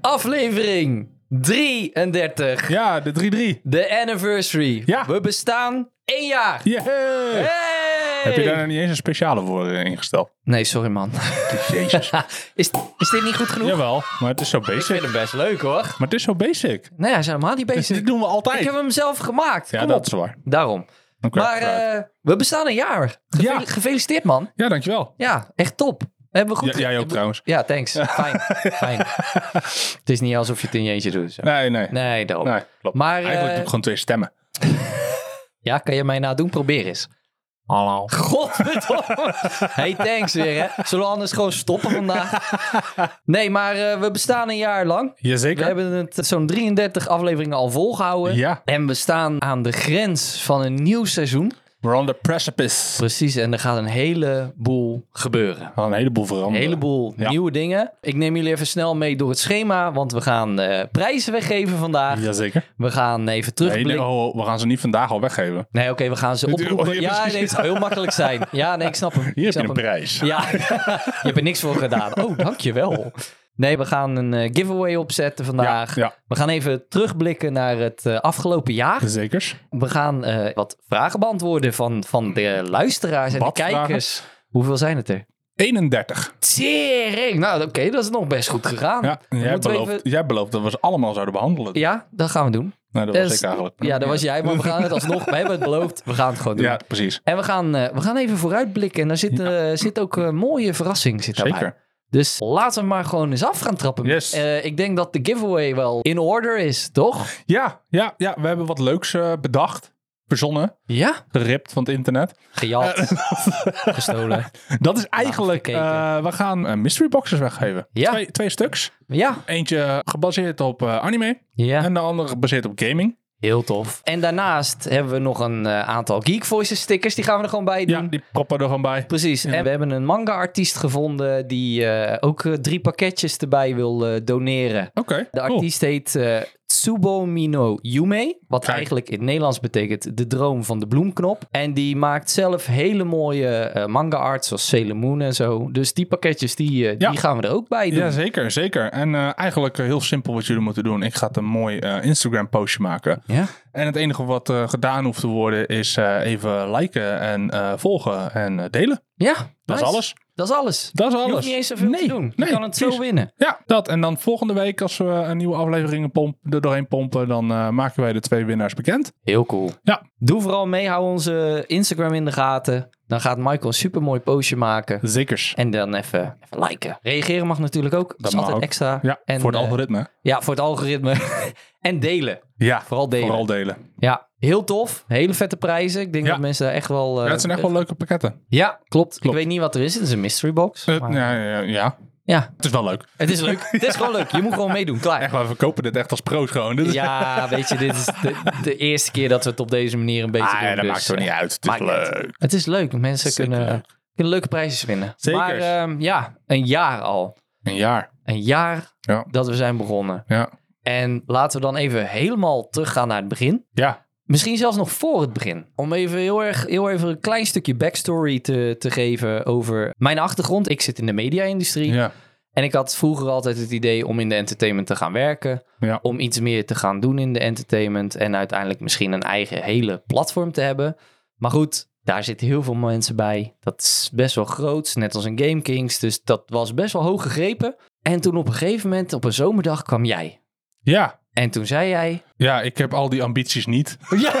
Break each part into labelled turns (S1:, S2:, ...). S1: aflevering 33,
S2: Ja, de 3-3.
S1: de anniversary.
S2: Ja.
S1: We bestaan één jaar.
S2: Yeah.
S1: Hey!
S2: Heb je daar nou niet eens een speciale voor eh, ingesteld?
S1: Nee, sorry man.
S2: Jezus.
S1: Is, is dit niet goed genoeg?
S2: Jawel, maar het is zo
S1: Ik
S2: basic.
S1: vind hem best leuk hoor.
S2: Maar het is zo basic.
S1: Nee, hij is helemaal niet
S2: Dus
S1: bezig.
S2: dit doen we altijd.
S1: Ik heb hem zelf gemaakt.
S2: Ja,
S1: Kom
S2: dat
S1: op.
S2: is waar.
S1: Daarom.
S2: Oké,
S1: maar
S2: vooruit.
S1: eh, we bestaan een jaar. Gevel-
S2: Ja.
S1: Gefeliciteerd man.
S2: ja, dankjewel.
S1: Ja, echt top. Hebben we goed
S2: Ja, jij ook trouwens.
S1: Ja, thanks. Fijn. Fijn. Het is niet alsof je het in je eentje doet. zo.
S2: Nee, nee. nee.
S1: Nee, daarom.
S2: klopt.
S1: Maar,
S2: Eigenlijk
S1: eh,
S2: doe ik gewoon twee stemmen.
S1: Ja, kan je mij nadoen? Probeer eens.
S2: Hallo.
S1: Godverdomme. Hey, thanks weer, hè. Zullen we anders gewoon stoppen vandaag? Nee, maar eh, we bestaan een jaar lang. We
S2: Jazeker.
S1: hebben het eh, zo'n 33 afleveringen al volgehouden.
S2: Ja.
S1: En we staan aan de grens van een nieuw seizoen.
S2: We're on the precipice.
S1: Precies, en er gaat een heleboel gebeuren.
S2: Al een heleboel
S1: Een
S2: veranderen.
S1: heleboel
S2: Ja.
S1: nieuwe dingen. Ik neem jullie even snel mee door het schema, want we gaan eh, prijzen weggeven vandaag.
S2: Jazeker.
S1: We gaan even
S2: Nee,
S1: terugblikken.
S2: nee, oh, we gaan ze niet vandaag al weggeven.
S1: Nee, oké, we gaan ze
S2: Dit- oh,
S1: oproepen.
S2: ja,
S1: Ja,
S2: precies.
S1: nee, het zou heel makkelijk zijn. Ja, nee, ik snap hem. Ik
S2: Hier heb je
S1: snap
S2: een
S1: hem.
S2: prijs.
S1: Ja, je hebt er niks voor gedaan. Oh, dankjewel. Nee, we gaan een eh, giveaway opzetten vandaag.
S2: ja.
S1: We gaan even terugblikken naar het eh, afgelopen jaar.
S2: Zekers.
S1: We gaan eh, wat vragen beantwoorden van, van de luisteraars en
S2: Wat
S1: de kijkers. Hoeveel zijn het er?
S2: 31.
S1: Tering! Nou, oké, dat is nog best goed gegaan.
S2: Ja, jij
S1: moeten we
S2: belooft, jij belooft dat we ze allemaal zouden behandelen.
S1: Ja, dat gaan we doen.
S2: Nou, dat was
S1: Dus-
S2: ik eigenlijk.
S1: Ja, dat was jij, maar we gaan het alsnog. We hebben het beloofd, we gaan het gewoon doen.
S2: Ja, precies.
S1: En we gaan, eh, we gaan even vooruitblikken. En daar zit, eh, zit ook een mooie verrassing zit daarbij.
S2: Zeker.
S1: Dus laten we maar gewoon eens af gaan trappen.
S2: Yes.
S1: Eh, ik denk dat de giveaway wel in order is, toch?
S2: Ja, ja, ja, we hebben wat leuks eh, bedacht, verzonnen,
S1: Ja.
S2: geript van het internet.
S1: Gejat, gestolen.
S2: Dat is eigenlijk,
S1: Nou, gekeken.
S2: eh, we gaan eh, mystery boxes weggeven.
S1: Ja.
S2: Twee, twee stuks.
S1: Ja.
S2: Eentje gebaseerd op eh, anime
S1: Ja,
S2: en de andere gebaseerd op gaming.
S1: heel tof. En daarnaast hebben we nog een eh, aantal Geek Voices stickers. Die gaan we er gewoon bij doen.
S2: Ja, die proppen er gewoon bij.
S1: Precies. En we hebben een manga-artiest gevonden die eh, ook eh, drie pakketjes erbij wil eh, doneren.
S2: Oké,
S1: De
S2: cool.
S1: artiest heet eh, Tsubomino Yume, wat
S2: Kijk.
S1: eigenlijk in het Nederlands betekent de droom van de bloemknop. En die maakt zelf hele mooie eh, manga-art, zoals Sailor Moon en zo. Dus die pakketjes, die, eh,
S2: Ja.
S1: die gaan we er ook bij doen.
S2: Ja, zeker, zeker. En eh, eigenlijk eh, heel simpel wat jullie moeten doen. Ik ga het een mooi eh, Instagram postje maken.
S1: Ja?
S2: En het enige wat eh, gedaan hoeft te worden is eh, even liken en eh, volgen en eh, delen.
S1: Ja,
S2: Dat
S1: nice.
S2: is alles.
S1: Dat is alles.
S2: Dat is alles.
S1: Je hoeft niet eens zoveel
S2: nee,
S1: te doen. Je
S2: nee,
S1: kan het zo
S2: precies.
S1: winnen.
S2: Ja, dat. En dan volgende week, als we een nieuwe aflevering pomp, er doorheen pompen, dan eh, maken wij de twee winnaars bekend.
S1: Heel cool.
S2: Ja.
S1: Doe vooral mee, hou onze Instagram in de gaten. Dan gaat Michael een supermooi postje maken.
S2: Zekers.
S1: En dan even, even liken. Reageren mag natuurlijk ook. Dat, is
S2: mag
S1: altijd
S2: ook.
S1: extra.
S2: Ja,
S1: En,
S2: voor het
S1: eh,
S2: algoritme.
S1: Ja, voor het algoritme. en delen.
S2: Ja,
S1: Vooral delen.
S2: vooral delen.
S1: Ja, heel tof. Hele vette prijzen. Ik denk
S2: Ja.
S1: dat mensen daar echt wel... eh,
S2: Ja, het zijn echt wel leuke pakketten.
S1: Ja, klopt. Ik
S2: Klopt.
S1: weet niet wat er is. Het is een mystery box.
S2: Eh,
S1: maar-
S2: ja, ja, ja,
S1: Ja,
S2: het is wel leuk.
S1: het is leuk. Het is gewoon leuk. Je moet gewoon meedoen.
S2: Echt,
S1: Klaar.
S2: we verkopen dit echt als pro's gewoon. Dit is- Ah,
S1: Ja, weet je, dit is de, de eerste keer dat we het op deze manier een beetje
S2: Ah,
S1: doen.
S2: ja, dat
S1: dus,
S2: maakt zo
S1: eh,
S2: niet uit. Het is
S1: maakt niet uit.
S2: leuk.
S1: Het is leuk. Mensen
S2: Zeker.
S1: kunnen, eh, kunnen leuke prijzen winnen.
S2: Zeker.
S1: Maar ehm, ja, een jaar al.
S2: Een jaar.
S1: Een jaar
S2: Ja.
S1: dat we zijn begonnen.
S2: Ja.
S1: En laten we dan even helemaal teruggaan naar het begin.
S2: Ja.
S1: Misschien zelfs nog voor het begin. Om even heel erg heel even een klein stukje backstory te, te geven over mijn achtergrond. Ik zit in de media-industrie.
S2: Ja.
S1: En ik had vroeger altijd het idee om in de entertainment te gaan werken.
S2: Ja.
S1: Om iets meer te gaan doen in de entertainment. En uiteindelijk misschien een eigen hele platform te hebben. Maar goed, daar zitten heel veel mensen bij. Dat is best wel groot. Net als een Game Kings. Dus dat was best wel hoog gegrepen. En toen op een gegeven moment, op een zomerdag, kwam jij.
S2: Ja.
S1: En toen zei jij.
S2: Ja, ik heb al die ambities niet.
S1: Ja.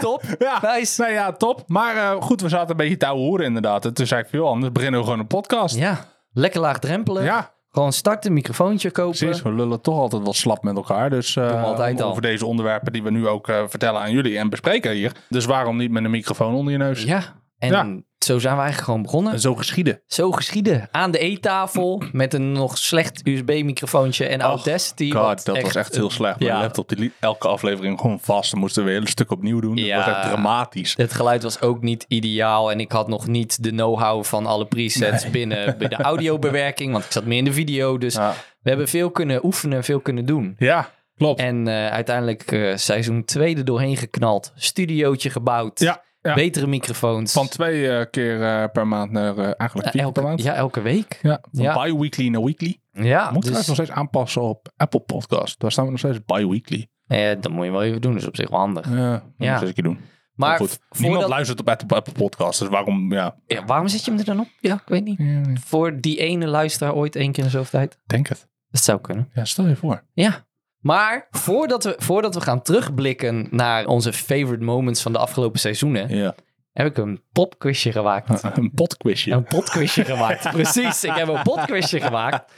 S1: Top.
S2: Ja.
S1: Nice.
S2: Nou ja, top. Maar eh, goed, we zaten een beetje te ouwe hoeren inderdaad. En toen zei ik, veel anders beginnen we gewoon een podcast.
S1: Ja. Lekker laagdrempelen.
S2: ja.
S1: Gewoon starten, microfoontje kopen.
S2: Precies, we lullen toch altijd wat slap met elkaar. Dus eh,
S1: Doen we altijd
S2: om-
S1: al.
S2: over deze onderwerpen die we nu ook eh, vertellen aan jullie en bespreken hier. Dus waarom niet met een microfoon onder je neus?
S1: Ja. En
S2: Ja. Dus-
S1: zo zijn we eigenlijk gewoon begonnen.
S2: En zo geschieden.
S1: Zo geschieden. Aan de eettafel met een nog slecht USB-microfoontje en Audacity. wat
S2: Oh, God, dat was echt heel slecht. Mijn
S1: Ja.
S2: laptop die liep elke aflevering gewoon vast. Dan moesten we een hele stuk opnieuw doen.
S1: Ja.
S2: Dat was echt dramatisch.
S1: Het geluid was ook niet ideaal en ik had nog niet de know-how van alle presets binnen bij de audiobewerking, want ik zat meer in de video. Dus
S2: Ja,
S1: we hebben veel kunnen oefenen, veel kunnen doen.
S2: Ja, klopt.
S1: En eh, uiteindelijk eh, seizoen 2 er doorheen geknald. Studiootje gebouwd.
S2: Ja. Ja.
S1: Betere microfoons.
S2: Van twee eh, keer eh, per maand naar eh, eigenlijk
S1: Ja,
S2: vier keer
S1: elke,
S2: per maand.
S1: ja, elke week.
S2: Ja, van
S1: Ja.
S2: bi-weekly naar weekly.
S1: Ja,
S2: Moet
S1: dus,
S2: trouwens nog steeds aanpassen op Apple Podcast. Daar staan we nog steeds bi-weekly.
S1: eh, dat moet je wel even doen. Dat is op zich wel handig.
S2: Ja, moet
S1: Ja.
S2: ik eens een keer doen.
S1: Maar
S2: goed, niemand
S1: voordat-
S2: luistert op Apple, Apple Podcast, dus waarom, ja.
S1: ja, waarom zet je hem er dan op? Ja, ik weet niet. Voor die ene luisteraar ooit één keer in de zoveel tijd?
S2: Denk het.
S1: Dat zou kunnen.
S2: Ja, stel je voor.
S1: Ja. Maar voordat we, voordat we gaan terugblikken naar onze favorite moments van de afgelopen seizoenen,
S2: Ja.
S1: heb ik een popquizje gemaakt.
S2: Een podquizje.
S1: Een potquizje gemaakt. Precies, ik heb een potquizje gemaakt.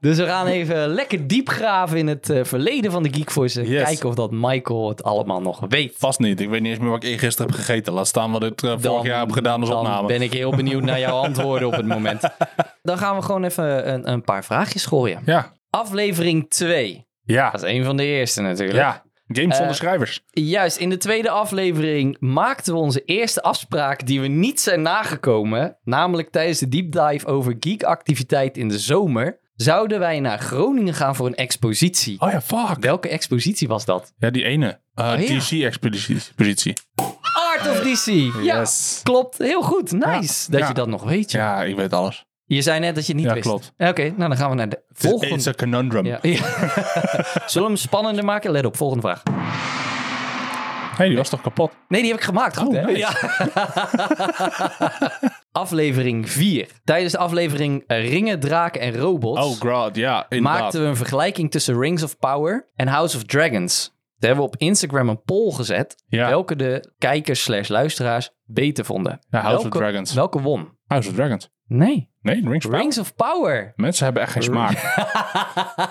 S1: Dus we gaan even lekker diep graven in het eh, verleden van de Geekvoice. En
S2: Yes.
S1: Kijken of dat Michael het allemaal nog weet.
S2: Vast niet. Ik weet niet eens meer wat ik gisteren heb gegeten. Laat staan wat ik eh, vorig
S1: Dan-
S2: jaar heb gedaan als
S1: dan
S2: opname.
S1: ben ik heel benieuwd naar jouw antwoorden op het moment. Dan gaan we gewoon even een, een paar vraagjes gooien.
S2: Ja.
S1: Aflevering 2.
S2: Ja.
S1: Dat is een van de eerste natuurlijk.
S2: Ja. Games
S1: Eh,
S2: zonder schrijvers.
S1: Juist, in de tweede aflevering maakten we onze eerste afspraak die we niet zijn nagekomen. Namelijk tijdens de deep dive over geekactiviteit in de zomer. Zouden wij naar Groningen gaan voor een expositie?
S2: Oh ja, fuck.
S1: Welke expositie was dat?
S2: Ja, die ene. eh
S1: Oh ja.
S2: DC-expeditie.
S1: Art of DC! Ja,
S2: Yes.
S1: klopt. Heel goed. Nice dat
S2: Ja.
S1: je dat nog weet. joh.
S2: Ja, ik weet alles.
S1: Je zei net dat je het niet
S2: Ja,
S1: wist.
S2: klopt.
S1: Ja, Oké, nou dan gaan we naar de
S2: Volgende.
S1: volgende.
S2: It's a conundrum.
S1: Ja. Zullen we hem spannender maken? Let op, volgende vraag.
S2: hey, die was toch kapot?
S1: Nee, die heb ik gemaakt. Goed,
S2: Oh,
S1: hè?
S2: nice.
S1: Ja. aflevering 4. Tijdens de aflevering eh, Ringen, Draken en Robots
S2: Oh god, ja, inderdaad.
S1: maakten we een vergelijking tussen Rings of Power en House of Dragons. Daar hebben we op Instagram een poll gezet
S2: Ja.
S1: welke de kijkers slash luisteraars beter vonden.
S2: Ja, House
S1: welke,
S2: of Dragons.
S1: Welke won?
S2: House of Dragons.
S1: Nee,
S2: Nee, Rings of Power.
S1: Rings of Power.
S2: Mensen hebben echt geen smaak.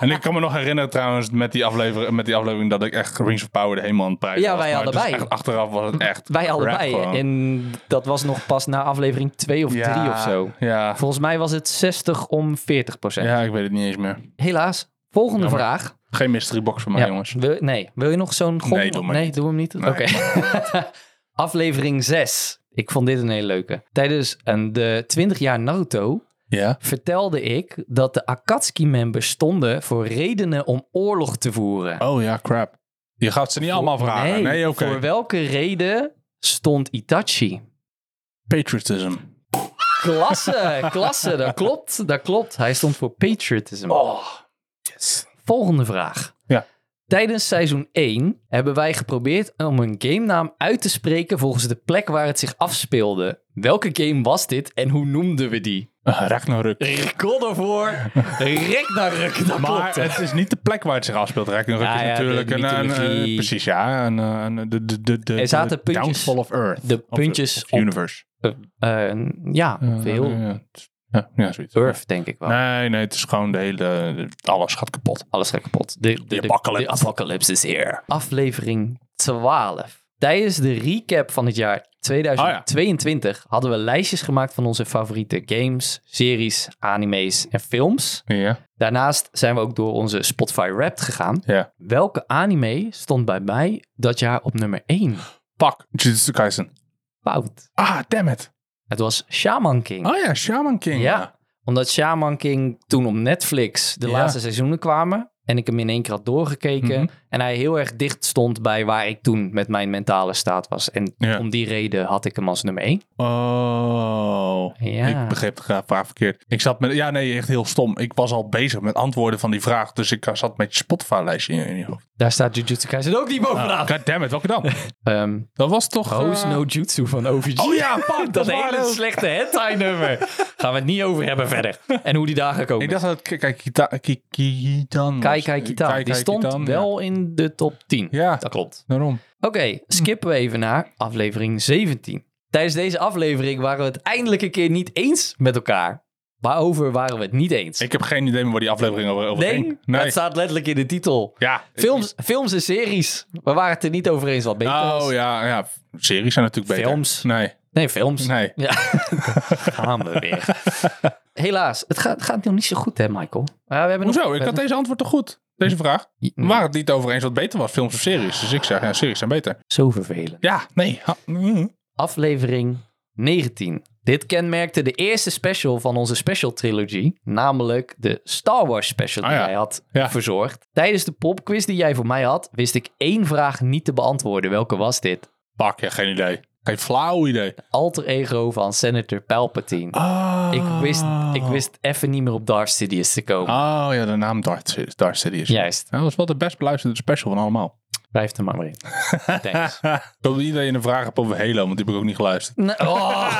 S2: en ik kan me nog herinneren trouwens met die aflevering, met die aflevering dat ik echt Rings of Power de helemaal aan het prijzen
S1: Ja,
S2: was.
S1: wij
S2: Maar het is
S1: allebei.
S2: echt- achteraf was het echt
S1: Wij
S2: crap
S1: allebei.
S2: gewoon.
S1: En dat was nog pas na aflevering 2 of 3
S2: Ja,
S1: of zo.
S2: Ja.
S1: Volgens mij was het 60 om 40 procent.
S2: ja, ik weet het niet eens meer.
S1: Helaas. Volgende
S2: Jammer.
S1: vraag.
S2: Geen mystery box voor mij,
S1: Ja,
S2: Oh, jongens.
S1: wil- nee. Wil je nog zo'n gong?
S2: Nee, doe maar niet.
S1: hem niet. Oké. Aflevering 6. Ik vond dit een hele leuke. Tijdens een, de 20 jaar Naruto
S2: Ja.
S1: vertelde ik dat de Akatsuki-members stonden voor redenen om oorlog te voeren.
S2: Oh ja, crap. Je gaat ze niet allemaal vragen. Nee, oké.
S1: Voor welke reden stond Itachi?
S2: Patriotism.
S1: Klasse, klasse. Dat klopt, dat klopt. Hij stond voor patriotism.
S2: Oh. Yes.
S1: Volgende vraag.
S2: Ja.
S1: Tijdens seizoen 1 hebben wij geprobeerd om een gamenaam uit te spreken volgens de plek waar het zich afspeelde. Welke game was dit en hoe noemden we die?
S2: Uh, Ragnarok.
S1: God of War, Ragnarok, dat
S2: Maar het is niet de plek waar het zich afspeelt. Ragnarok
S1: Ja,
S2: is
S1: ja, de
S2: natuurlijk een, een,
S1: mythologie.
S2: eh, precies ja, een, eh, een- de, de, de, de
S1: Er zaten
S2: de
S1: puntjes.
S2: downfall of Earth.
S1: De
S2: Of-
S1: puntjes
S2: of
S1: op-
S2: universe.
S1: ja,
S2: Eh,
S1: veel
S2: ja, ja, het- ja, ja, zoiets.
S1: Earth denk ik wel.
S2: Nee, nee, het is gewoon de hele. Alles gaat kapot.
S1: Alles gaat kapot. De, de,
S2: De
S1: de-
S2: apocalypse.
S1: de apocalypse is here. Aflevering 12. Tijdens de recap van het jaar 2022 hadden we lijstjes gemaakt van onze favoriete games, series, anime's en films.
S2: Ja.
S1: Daarnaast zijn we ook door onze Spotify Wrapped gegaan.
S2: Ja.
S1: Welke anime stond bij mij dat jaar op nummer 1?
S2: Pak. Jujutsu Kaisen.
S1: Fout.
S2: Ah, damn it.
S1: Het was Shaman King.
S2: Oh ja, Shaman King.
S1: Ja, omdat Shaman King toen op Netflix de
S2: Ja.
S1: laatste seizoenen kwamen. En ik hem in één keer had doorgekeken.
S2: Mhm.
S1: En hij heel erg dicht stond bij waar ik toen met mijn mentale staat was. En
S2: Ja.
S1: om die reden had ik hem als nummer één.
S2: Oh.
S1: Ja.
S2: Ik begreep de gra- vraag verkeerd. Ik zat met. Ja, nee, echt heel stom. Ik was al bezig met antwoorden van die vraag. Dus ik zat met je Spotify-lijstje in in je hoofd.
S1: Daar staat Jujutsu Kaisen ook niet bovenaan.
S2: Ah, God damn it, welke dan?
S1: Nou, Ehm,
S2: Dat was toch.
S1: Hoes
S2: eh,
S1: no Jutsu van OVG.
S2: Oh ja, fuck, dat
S1: dat
S2: is waar
S1: hele
S2: ook.
S1: slechte hentai nummer. Gaan we het niet over hebben verder. En hoe die daar gekomen
S2: Ik
S1: is.
S2: dacht dat het Kai Kita- Ki- Kitan. was. eh,
S1: Kai Kai Kita.
S2: Kai
S1: die
S2: Kai
S1: stond
S2: Kitan, ja.
S1: wel in de top 10.
S2: Ja,
S1: Dat klopt.
S2: daarom.
S1: Oké, skippen we even naar aflevering 17. Tijdens deze aflevering waren we het eindelijk een keer niet eens met elkaar. Waarover waren we het niet eens?
S2: Ik heb geen idee meer waar die aflevering over, over
S1: nee,
S2: ging.
S1: dat staat letterlijk in de titel.
S2: Ja.
S1: Films, films en series. We waren het er niet over eens wat beter
S2: Oh
S1: was.
S2: ja, ja, series zijn natuurlijk beter.
S1: Films.
S2: Nee,
S1: Nee, films.
S2: nee.
S1: Ja, gaan we weer. Helaas, het gaat, het gaat nog niet zo goed hè, Michael? Maar we hebben nog-
S2: Hoezo? Ik
S1: we
S2: had
S1: hebben-
S2: deze antwoord toch goed? Deze vraag. We waren het niet over eens wat beter was, films of series. Dus ik zeg, ja, series zijn beter.
S1: Zo vervelend.
S2: Ja, nee. Ha- mm.
S1: aflevering 19. Dit kenmerkte de eerste special van onze special trilogie, namelijk de Star Wars special
S2: Ah,
S1: die
S2: ja.
S1: jij had
S2: Ja.
S1: verzorgd. Tijdens de popquiz die jij voor mij had, wist ik één vraag niet te beantwoorden. Welke was dit?
S2: Pak, ja, geen idee. Geen flauw idee.
S1: Alter ego van Senator Palpatine.
S2: Oh.
S1: Ik wist, ik wist even niet meer op Darth Sidious te komen.
S2: Oh ja, de naam Darth, Sid- Darth Sidious.
S1: Juist.
S2: Nou, dat was wel de best beluisterde special van allemaal.
S1: Blijf er maar maar in. Thanks.
S2: Ik hoop dat iedereen een vraag hebt over Halo, want die heb ik ook niet geluisterd.
S1: Nee,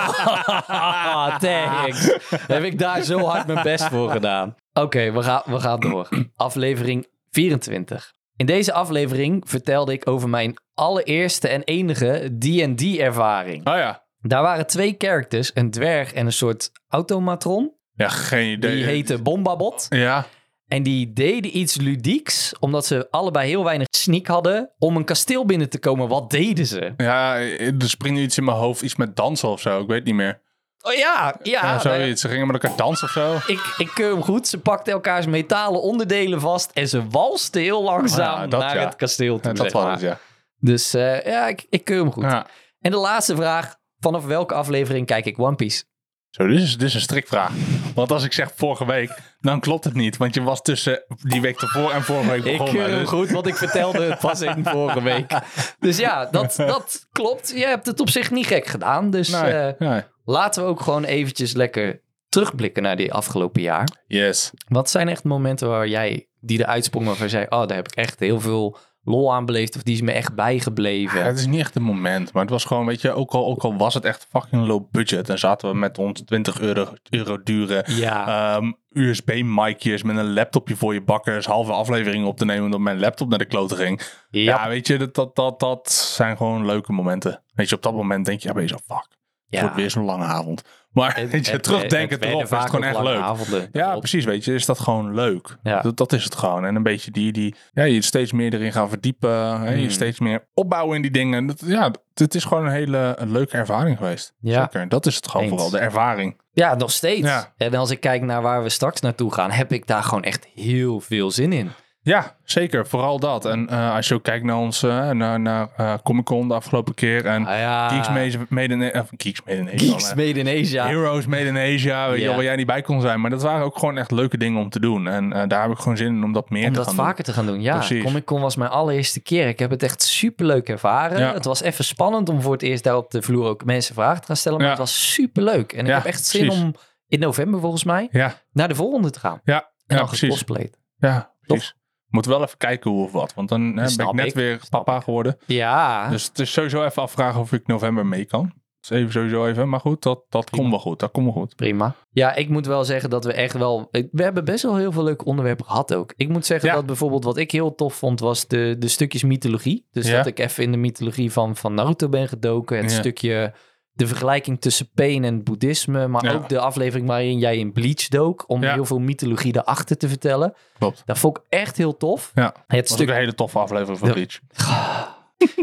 S1: Oh, thanks. Heb ik daar zo hard mijn best voor gedaan. Oké, we, gaan, we gaan door. Aflevering 24. In deze aflevering vertelde ik over mijn allereerste en enige D&D-ervaring.
S2: Oh ja.
S1: Daar waren twee characters, een dwerg en een soort automatron.
S2: Ja, geen idee.
S1: Die heette Bombabot.
S2: Ja.
S1: En die deden iets ludieks, omdat ze allebei heel weinig sneak hadden om een kasteel binnen te komen. Wat deden ze?
S2: Ja, eh, er springt iets in mijn hoofd, iets met dansen of zo. Ik weet niet meer.
S1: Oh ja, ja.
S2: Ja,
S1: nou ja.
S2: zoiets. Ze gingen met elkaar dansen of zo.
S1: Ik, ik keur hem goed. Ze pakten elkaars metalen onderdelen vast en ze walsten heel langzaam
S2: Oh ja, dat
S1: naar
S2: ja.
S1: het kasteel toe.
S2: Ja, dat
S1: zeg
S2: was
S1: maar.
S2: het, ja.
S1: Dus eh, ja, ik, ik keur hem goed.
S2: ja.
S1: En de laatste vraag. Vanaf welke aflevering kijk ik One Piece?
S2: Zo, dit is, dit is een strikvraag. Want als ik zeg vorige week, dan klopt het niet. Want je was tussen die week ervoor en vorige week
S1: Ik
S2: begonnen.
S1: keur hem
S2: Dus-
S1: goed, want ik vertelde het pas in vorige week. Dus ja, dat, dat klopt. Je hebt het op zich niet gek gedaan. Dus
S2: Nee,
S1: eh,
S2: nee.
S1: laten we ook gewoon eventjes lekker terugblikken naar die afgelopen jaar.
S2: Yes.
S1: Wat zijn echt momenten waar jij die de uitsprongen waarvan je zei, oh, daar heb ik echt heel veel lol aan beleefd of die is me echt bijgebleven?
S2: Ja, het is niet echt een moment, maar het was gewoon, weet je, ook al, ook al was het echt fucking low budget en zaten we met ons 20 euro, euro dure
S1: Ja.
S2: ehm, USB-micjes met een laptopje voor je bakkers, halve aflevering op te nemen omdat mijn laptop naar de klote ging.
S1: Ja.
S2: Ja, weet je, dat, dat, dat, dat zijn gewoon leuke momenten. Weet je, op dat moment denk je, ja, ben je zo, fuck, het wordt weer zo'n lange avond. Maar weet je, terugdenken
S1: werden
S2: erop is
S1: vaak
S2: het gewoon
S1: ook
S2: echt
S1: lange
S2: leuk.
S1: Avonden.
S2: Ja,
S1: Klopt.
S2: precies, weet je, is dat gewoon leuk.
S1: Ja.
S2: Dat, dat is het gewoon. En een beetje die, die ja, je steeds meer erin gaan verdiepen. Hè,
S1: Hmm.
S2: Je steeds meer opbouwen in die dingen. Dat, ja, het is gewoon een hele een leuke ervaring geweest.
S1: Ja.
S2: Zeker, dat is het gewoon
S1: Eens.
S2: vooral, de ervaring.
S1: ja, nog steeds.
S2: Ja.
S1: En als ik kijk naar waar we straks naartoe gaan, heb ik daar gewoon echt heel veel zin in.
S2: Ja, zeker, vooral dat. En eh, als je ook kijkt naar ons, eh, naar, naar eh, Comic-Con de afgelopen keer. En
S1: Ah, ja.
S2: Geeks Made, made in, eh, Geeks Made in Asia.
S1: Geeks Made in Asia.
S2: Heroes Made in Asia, weet je
S1: Ja.
S2: wel, waar jij niet bij kon zijn. Maar dat waren ook gewoon echt leuke dingen om te doen. En eh, daar heb ik gewoon zin in om dat meer
S1: om
S2: te
S1: dat
S2: gaan
S1: vaker te gaan doen. Ja,
S2: Precies.
S1: Comic Con was mijn allereerste keer. Ik heb het echt superleuk ervaren.
S2: Ja.
S1: Het was even spannend om voor het eerst daar op de vloer ook mensen vragen te gaan stellen. Maar
S2: Ja.
S1: het was superleuk. En ik
S2: Ja,
S1: heb echt zin
S2: precies.
S1: om in november volgens mij
S2: doen. Ja,
S1: naar de volgende te gaan.
S2: ja,
S1: En
S2: ja
S1: dan
S2: precies.
S1: gecosplayed.
S2: Ja,
S1: Toch?
S2: precies. Moet wel even kijken hoe of wat. Want dan hè, ben
S1: snap
S2: ik net
S1: ik.
S2: weer
S1: Snap
S2: papa geworden.
S1: Ja,
S2: Dus het is sowieso even afvragen of ik november mee kan. Dus even sowieso even. Maar goed, dat, dat komt wel goed. Dat komt wel goed.
S1: Prima. Ja, ik moet wel zeggen dat we echt wel... We hebben best wel heel veel leuke onderwerpen gehad ook. Ik moet zeggen
S2: Ja.
S1: dat bijvoorbeeld wat ik heel tof vond was de, de stukjes mythologie. Dus
S2: Ja.
S1: dat ik even in de mythologie van, van Naruto ben gedoken. Het
S2: Ja.
S1: stukje... De vergelijking tussen pain en boeddhisme. Maar
S2: Ja.
S1: ook de aflevering waarin jij in Bleach dook. Om
S2: Ja.
S1: heel veel mythologie daarachter te vertellen.
S2: Klopt.
S1: Dat vond ik echt heel tof.
S2: Ja,
S1: Het
S2: was ook
S1: stuk...
S2: een hele toffe aflevering van
S1: Ja.
S2: Bleach.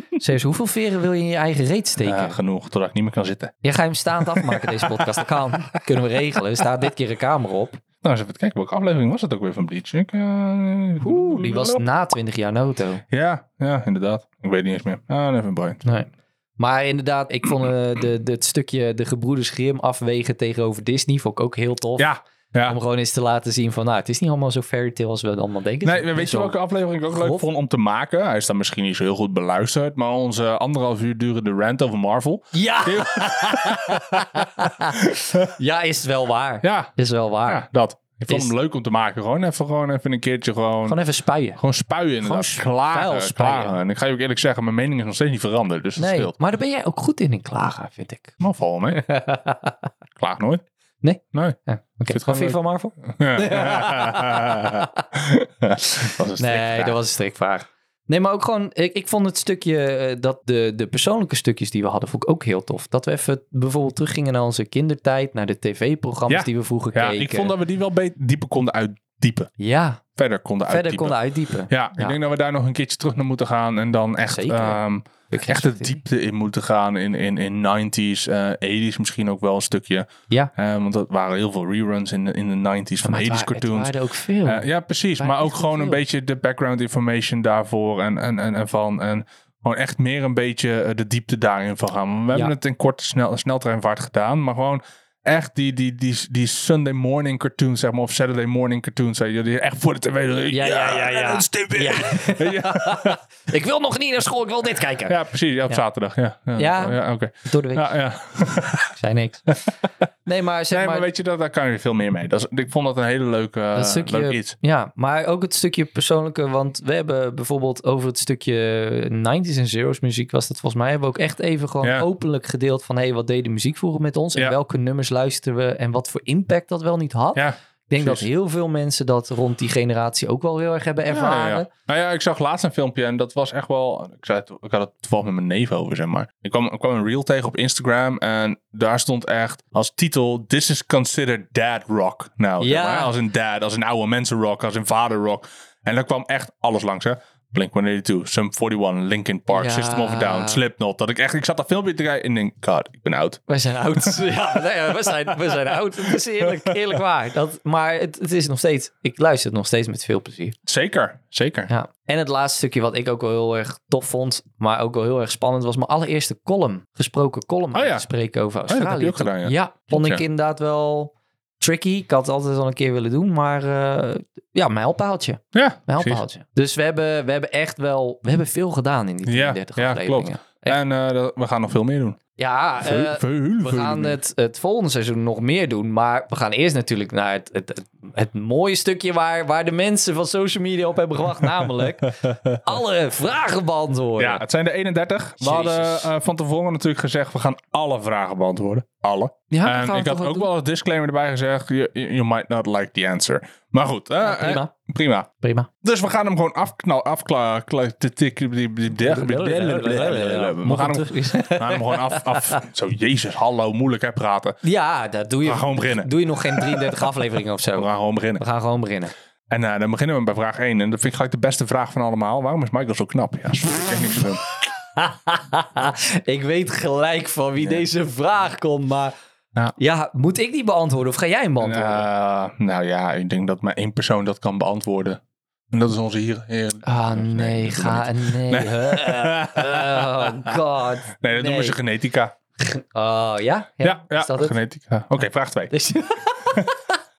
S1: Zeus, hoeveel veren wil je in je eigen reet steken?
S2: Ja, genoeg, totdat ik niet meer kan zitten.
S1: Jij gaat hem staand afmaken deze podcast. Dat kan. Kunnen we regelen. Staat dit keer een camera op.
S2: Nou, eens even kijken. Welke aflevering was het ook weer van Bleach? Ik, eh,
S1: Oeh, die was na 20 jaar Naruto.
S2: Ja, ja, inderdaad. Ik weet niet eens meer. Ah, even Brian.
S1: Nee. Maar inderdaad, ik vond eh, de, de, het stukje de gebroeders Grimm afwegen tegenover Disney vond ik ook heel tof.
S2: Ja, ja.
S1: Om gewoon eens te laten zien van, nou, het is niet allemaal zo fairy tale als we het allemaal denken. Het
S2: Nee,
S1: is
S2: weet je
S1: wel-
S2: welke aflevering ik ook
S1: grof.
S2: leuk vond om te maken? Hij is dan misschien niet zo heel goed beluisterd, maar onze anderhalf uur durende rant over Marvel.
S1: Ja! ja, is het wel waar.
S2: Ja,
S1: Is wel waar.
S2: ja dat. Ik vond
S1: Is-
S2: hem leuk om te maken. Gewoon even, gewoon even een keertje gewoon...
S1: Gewoon
S2: Gewoon,
S1: even spuien.
S2: spuien inderdaad.
S1: gewoon vuil
S2: klagen,
S1: spuien.
S2: klagen. En ik ga je ook eerlijk zeggen, mijn mening is nog steeds niet veranderd. Dus dat
S1: Nee,
S2: scheelt.
S1: maar daar ben jij ook goed in in klagen, vind ik.
S2: Maar val mee. Ik Klaag nooit.
S1: Nee?
S2: Nee.
S1: Ja, Oké,
S2: vind
S1: wat vind je
S2: het
S1: van Marvel?
S2: dat was een
S1: Nee,
S2: strikvraag.
S1: dat was een strikvraag. Nee, maar ook gewoon, ik, ik vond het stukje, eh, dat de, de persoonlijke stukjes die we hadden, vond ik ook heel tof. Dat we even bijvoorbeeld teruggingen naar onze kindertijd, naar de tv-programma's
S2: Ja.
S1: die we vroeger
S2: Ja,
S1: keken.
S2: ik vond dat we die wel be- dieper konden uitdiepen.
S1: Ja,
S2: Verder konden
S1: verder
S2: uitdiepen.
S1: konden uitdiepen.
S2: Ja, ik
S1: Ja.
S2: denk dat we daar nog een keertje terug naar moeten gaan. En dan echt,
S1: Zeker.
S2: ehm,
S1: Ik
S2: echt de diepte in moeten gaan. In, in, in 90s, eh 80s misschien ook wel een stukje.
S1: Ja.
S2: Eh, want dat waren heel veel reruns in de, in de 90s van
S1: Maar het
S2: 80s
S1: wa- het
S2: cartoons.
S1: waren er ook veel.
S2: Eh, ja, precies.
S1: waren
S2: Maar ook
S1: echt
S2: gewoon een
S1: veel.
S2: beetje de background information daarvoor en, en, en, en van. En gewoon echt meer een beetje eh, de diepte daarin van gaan. Want We
S1: Ja.
S2: hebben het in korte snel, sneltreinvaart gedaan. Maar gewoon echt die, die, die, die Sunday morning cartoons, zeg maar, of Saturday morning cartoons, zeg maar, die echt voor de tv.
S1: Ja, ja, ja, ja.
S2: dat is tv.
S1: Ja.
S2: ja.
S1: Ik wil nog niet naar school, ik wil dit kijken.
S2: Ja, precies. Ja, op
S1: Ja.
S2: zaterdag. Ja, ja.
S1: Ja.
S2: oké.
S1: Door de week.
S2: Ja, ja.
S1: Ik zei niks. Nee, maar zeg
S2: Nee, maar
S1: maar...
S2: weet je, dat, daar kan je veel meer mee. Dat is, ik vond dat een hele leuke,
S1: dat stukje,
S2: Eh, leuk iets.
S1: Ja, maar ook het stukje persoonlijke. Want we hebben bijvoorbeeld over het stukje 90s en zeros muziek was dat volgens mij. Hebben we ook echt even gewoon
S2: Ja.
S1: openlijk gedeeld van... hé, hey, wat deed de muziek vroeger met ons? En
S2: Ja.
S1: welke nummers luisterden we? En wat voor impact dat wel niet had.
S2: Ja,
S1: Ik denk
S2: precies.
S1: dat heel veel mensen dat rond die generatie ook wel heel erg hebben ervaren.
S2: Ja, ja, ja. Nou ja, ik zag laatst een filmpje en dat was echt wel... Ik, zei, het- ik had het toevallig met mijn neef over, zeg maar. Ik kwam, ik kwam een reel tegen op Instagram en daar stond echt als titel... This is considered dad rock. Nou, zeg
S1: Ja.
S2: maar, als een dad, als een oude mensen rock, als een vader rock. En daar kwam echt alles langs, hè. Blink-182, Sum 41, Linkin Park,
S1: Ja.
S2: System of a Down, Slipknot. Dat ik echt, ik zat dat filmpje te kijken en denk, god, ik ben oud.
S1: Wij zijn oud. ja, nee, we, zijn, we zijn oud. Het is eerlijk, eerlijk waar. Dat, maar het, het is nog steeds... Ik luister het nog steeds met veel plezier.
S2: Zeker, zeker.
S1: Ja. En het laatste stukje wat ik ook wel heel erg tof vond, maar ook wel heel erg spannend, was mijn allereerste column. Gesproken column
S2: Oh ja.
S1: uit te spreken over
S2: dat heb
S1: Australië.
S2: je ook gedaan, ja.
S1: vond
S2: Klopt,
S1: ik
S2: ja.
S1: inderdaad wel tricky. Ik had het altijd al een keer willen doen, maar eh, ja, mijn helpaaltje.
S2: Ja,
S1: Mijn
S2: precies.
S1: helpaaltje. Dus we hebben, we hebben echt wel, we hebben veel gedaan in die
S2: Ja,
S1: 33
S2: ja,
S1: afleveringen. Echt.
S2: En eh, dat- we gaan nog veel meer doen.
S1: Ja,
S2: Veel-
S1: eh,
S2: veel,
S1: we
S2: veel
S1: gaan
S2: meer.
S1: het, het volgende seizoen nog meer doen. Maar we gaan eerst natuurlijk naar het, het, het, het mooie stukje waar, waar de mensen van social media op hebben gewacht. Namelijk alle vragen beantwoorden.
S2: Ja, het zijn de 31. We
S1: Jezus.
S2: hadden eh, van tevoren natuurlijk gezegd, we gaan alle vragen beantwoorden. Alle.
S1: Ja, dat gaan
S2: en
S1: we
S2: ik
S1: toch
S2: had ook
S1: doen.
S2: wel als disclaimer erbij gezegd, you, you might not like the answer. Maar goed, eh,
S1: Ja, prima.
S2: eh, prima.
S1: Prima.
S2: Dus we gaan hem gewoon afknal, afkla... kla- te- tik- die- die- die- We gaan hem- we gaan hem gewoon af, af... Zo, jezus, hallo, moeilijk hè, praten.
S1: Ja, dat doe
S2: We
S1: je.
S2: gaan gewoon beginnen.
S1: Doe je nog geen 33 afleveringen of
S2: We
S1: zo.
S2: gaan gewoon beginnen.
S1: We gaan gewoon beginnen.
S2: En eh, dan beginnen we bij vraag 1. En dat vind ik gelijk de beste vraag van allemaal. Waarom is Michael zo knap? Ja, sorry, ik denk niks van.
S1: ik weet gelijk van wie deze vraag komt, maar...
S2: Ja.
S1: Ja. moet ik die beantwoorden of ga jij hem beantwoorden?
S2: Eh, nou ja, ik denk dat maar één persoon dat kan beantwoorden. En dat is onze hier. heer.
S1: Ah, nee,
S2: nee, dat doen we
S1: ga... Nee. Eh, Oh, god.
S2: Nee, dat noemen ze genetica.
S1: Oh, ja?
S2: Ja, ja,
S1: is dat het?
S2: genetica. Oké, vraag 2.
S1: Dus-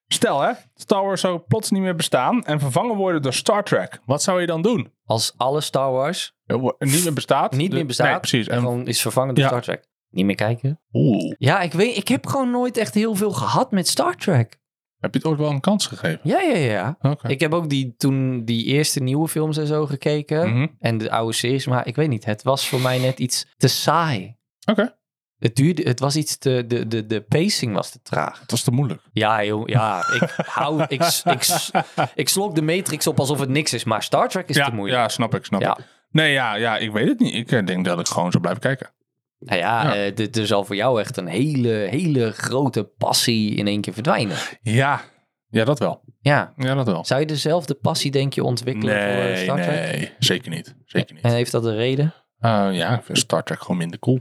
S2: Stel hè, Star Wars zou plots niet meer bestaan en vervangen worden door Star Trek. Wat zou je dan doen?
S1: Als alle Star Wars
S2: Eh, wo- Niet meer bestaat?
S1: niet
S2: De-
S1: meer bestaat...
S2: Nee, precies.
S1: En
S2: En,
S1: gewoon is vervangen door
S2: Ja.
S1: Star Trek. Niet meer kijken?
S2: oeh,
S1: Ja, ik weet... Ik heb gewoon nooit echt heel veel gehad met Star Trek.
S2: heb je het ooit wel een kans gegeven?
S1: Ja, ja, ja.
S2: Oké.
S1: Ik heb ook die, toen die eerste nieuwe films en zo gekeken.
S2: Mhm.
S1: En de oude series. Maar ik weet niet, het was voor mij net iets te saai.
S2: Oké.
S1: Het duurde... Het was iets te... De, de, de pacing was te traag.
S2: Dat was te moeilijk.
S1: Ja, joh. Ja, ik hou... ik, ik, ik slok de Matrix op alsof het niks is. Maar Star Trek is
S2: ja,
S1: te moeilijk.
S2: ja, snap ik, snap
S1: Ja.
S2: ik. Nee, ja, ja, ik weet het niet. Ik eh, denk dat ik gewoon zo blijf kijken.
S1: Nou ja,
S2: Ja.
S1: eh, dit er zal voor jou echt een hele, hele grote passie in één keer verdwijnen.
S2: Ja, ja dat wel.
S1: Ja.
S2: Ja, dat wel.
S1: Zou je dezelfde passie, denk je, ontwikkelen voor eh,
S2: Nee,
S1: Star Trek?
S2: nee, zeker niet. Zeker niet.
S1: En heeft dat een reden? Oké.
S2: Eh, ja, ik vind Star Trek gewoon minder cool.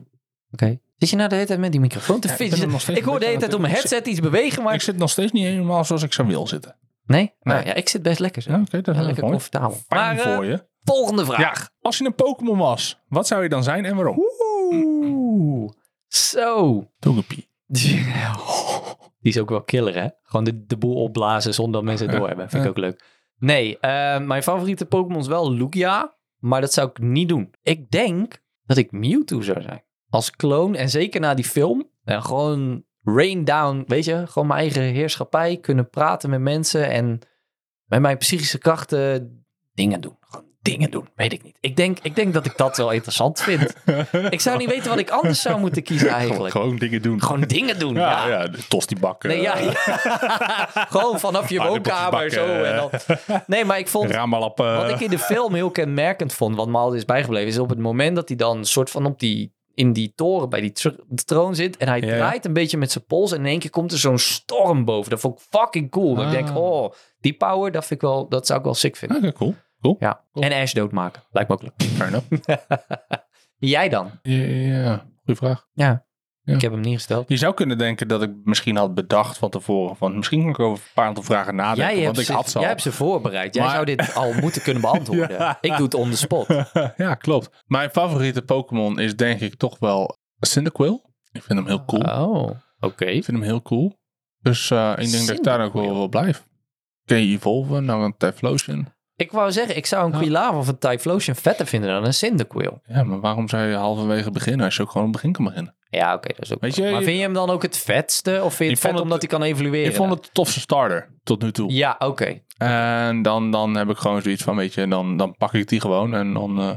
S1: Zit je nou de hele tijd met die microfoon te
S2: Ja, ik ben
S1: fidgeten?
S2: er nog
S1: ik,
S2: steeds een
S1: hoor de hele
S2: beetje
S1: tijd
S2: aan
S1: op mijn
S2: het-
S1: headset iets bewegen, maar...
S2: ik zit nog steeds niet helemaal zoals ik zou wil zitten.
S1: Nee? Nou
S2: Nee.
S1: ja, ik zit best lekker zo.
S2: Ja, Oké, dat
S1: Ja,
S2: is
S1: lekker
S2: mooi.
S1: comfortabel.
S2: Fijn
S1: Maar eh,
S2: voor je.
S1: volgende vraag.
S2: Ja, als je een Pokémon was, wat zou je dan zijn en waarom?
S1: Oeh. Zo.
S2: Togepi.
S1: Die is ook wel killer, hè? Gewoon de, de boel opblazen zonder dat mensen het doorhebben. Vind ik ook leuk. Nee, eh, mijn favoriete Pokémon is wel Lugia. Maar dat zou ik niet doen. Ik denk dat ik Mewtwo zou zijn. Als kloon en zeker na die film. En gewoon rain down, weet je? Gewoon mijn eigen heerschappij. Kunnen praten met mensen en met mijn psychische krachten dingen doen. Gewoon dingen doen, weet ik niet. Ik denk, ik denk dat ik dat wel interessant vind. Ik zou niet weten wat ik anders zou moeten kiezen eigenlijk.
S2: Gewoon dingen doen.
S1: Gewoon dingen doen,
S2: ja,
S1: ja.
S2: ja. de tostibakken.
S1: Nee, ja, ja. Gewoon vanaf je woonkamer
S2: aardappeltjes
S1: zo. En dan... Nee, maar ik vond...
S2: Ramalappen.
S1: Wat ik in de film heel kenmerkend vond, wat me altijd is bijgebleven, is op het moment dat hij dan soort van op die, in die toren bij die tr- troon zit en hij
S2: Ja.
S1: draait een beetje met zijn pols en in één keer komt er zo'n storm boven. Dat vond ik fucking cool. Dat Ik denk,
S2: Ah.
S1: oh, die power, dat, vind ik wel, dat zou ik wel sick vinden.
S2: Oké, cool. Cool.
S1: Ja.
S2: Cool.
S1: En Ash doodmaken, lijkt me ook leuk.
S2: Fair enough.
S1: Jij dan?
S2: Ja, ja, goede vraag. Ja.
S1: Ik heb hem niet gesteld.
S2: Je zou kunnen denken dat ik misschien had bedacht van tevoren. Van misschien kan ik over een paar aantal vragen nadenken.
S1: Jij hebt,
S2: want ik
S1: ze,
S2: had ze
S1: jij
S2: al.
S1: hebt ze voorbereid. Jij
S2: Maar-
S1: zou dit al moeten kunnen beantwoorden.
S2: Ja.
S1: Ik doe het on the spot.
S2: ja, klopt. Mijn favoriete Pokémon is denk ik toch wel Cyndaquil. Ik vind hem heel cool.
S1: Oh. Oké.
S2: Ik vind hem heel cool. Dus eh, ik denk dat ik
S1: Ziemelijk
S2: daar ook
S1: cool.
S2: wel, wel blijf. Kun je Evolven, dan een Typhlosion.
S1: Ik wou zeggen, ik zou een
S2: Ja.
S1: Quilava of een Typhlosion vetter vinden dan een Cyndaquil.
S2: Ja, maar waarom zou je halverwege beginnen als je ook gewoon aan het begin kan beginnen?
S1: Ja, oké, dat is ook...
S2: Weet je,
S1: maar
S2: je-
S1: vind je hem dan ook het vetste? Of vind je
S2: Ik
S1: het vet
S2: vond het-
S1: omdat hij kan evolueren?
S2: Ik vond het de tofste starter tot nu toe.
S1: Ja, oké.
S2: En dan, dan heb ik gewoon zoiets van, weet je, dan, dan pak ik die gewoon en dan eh,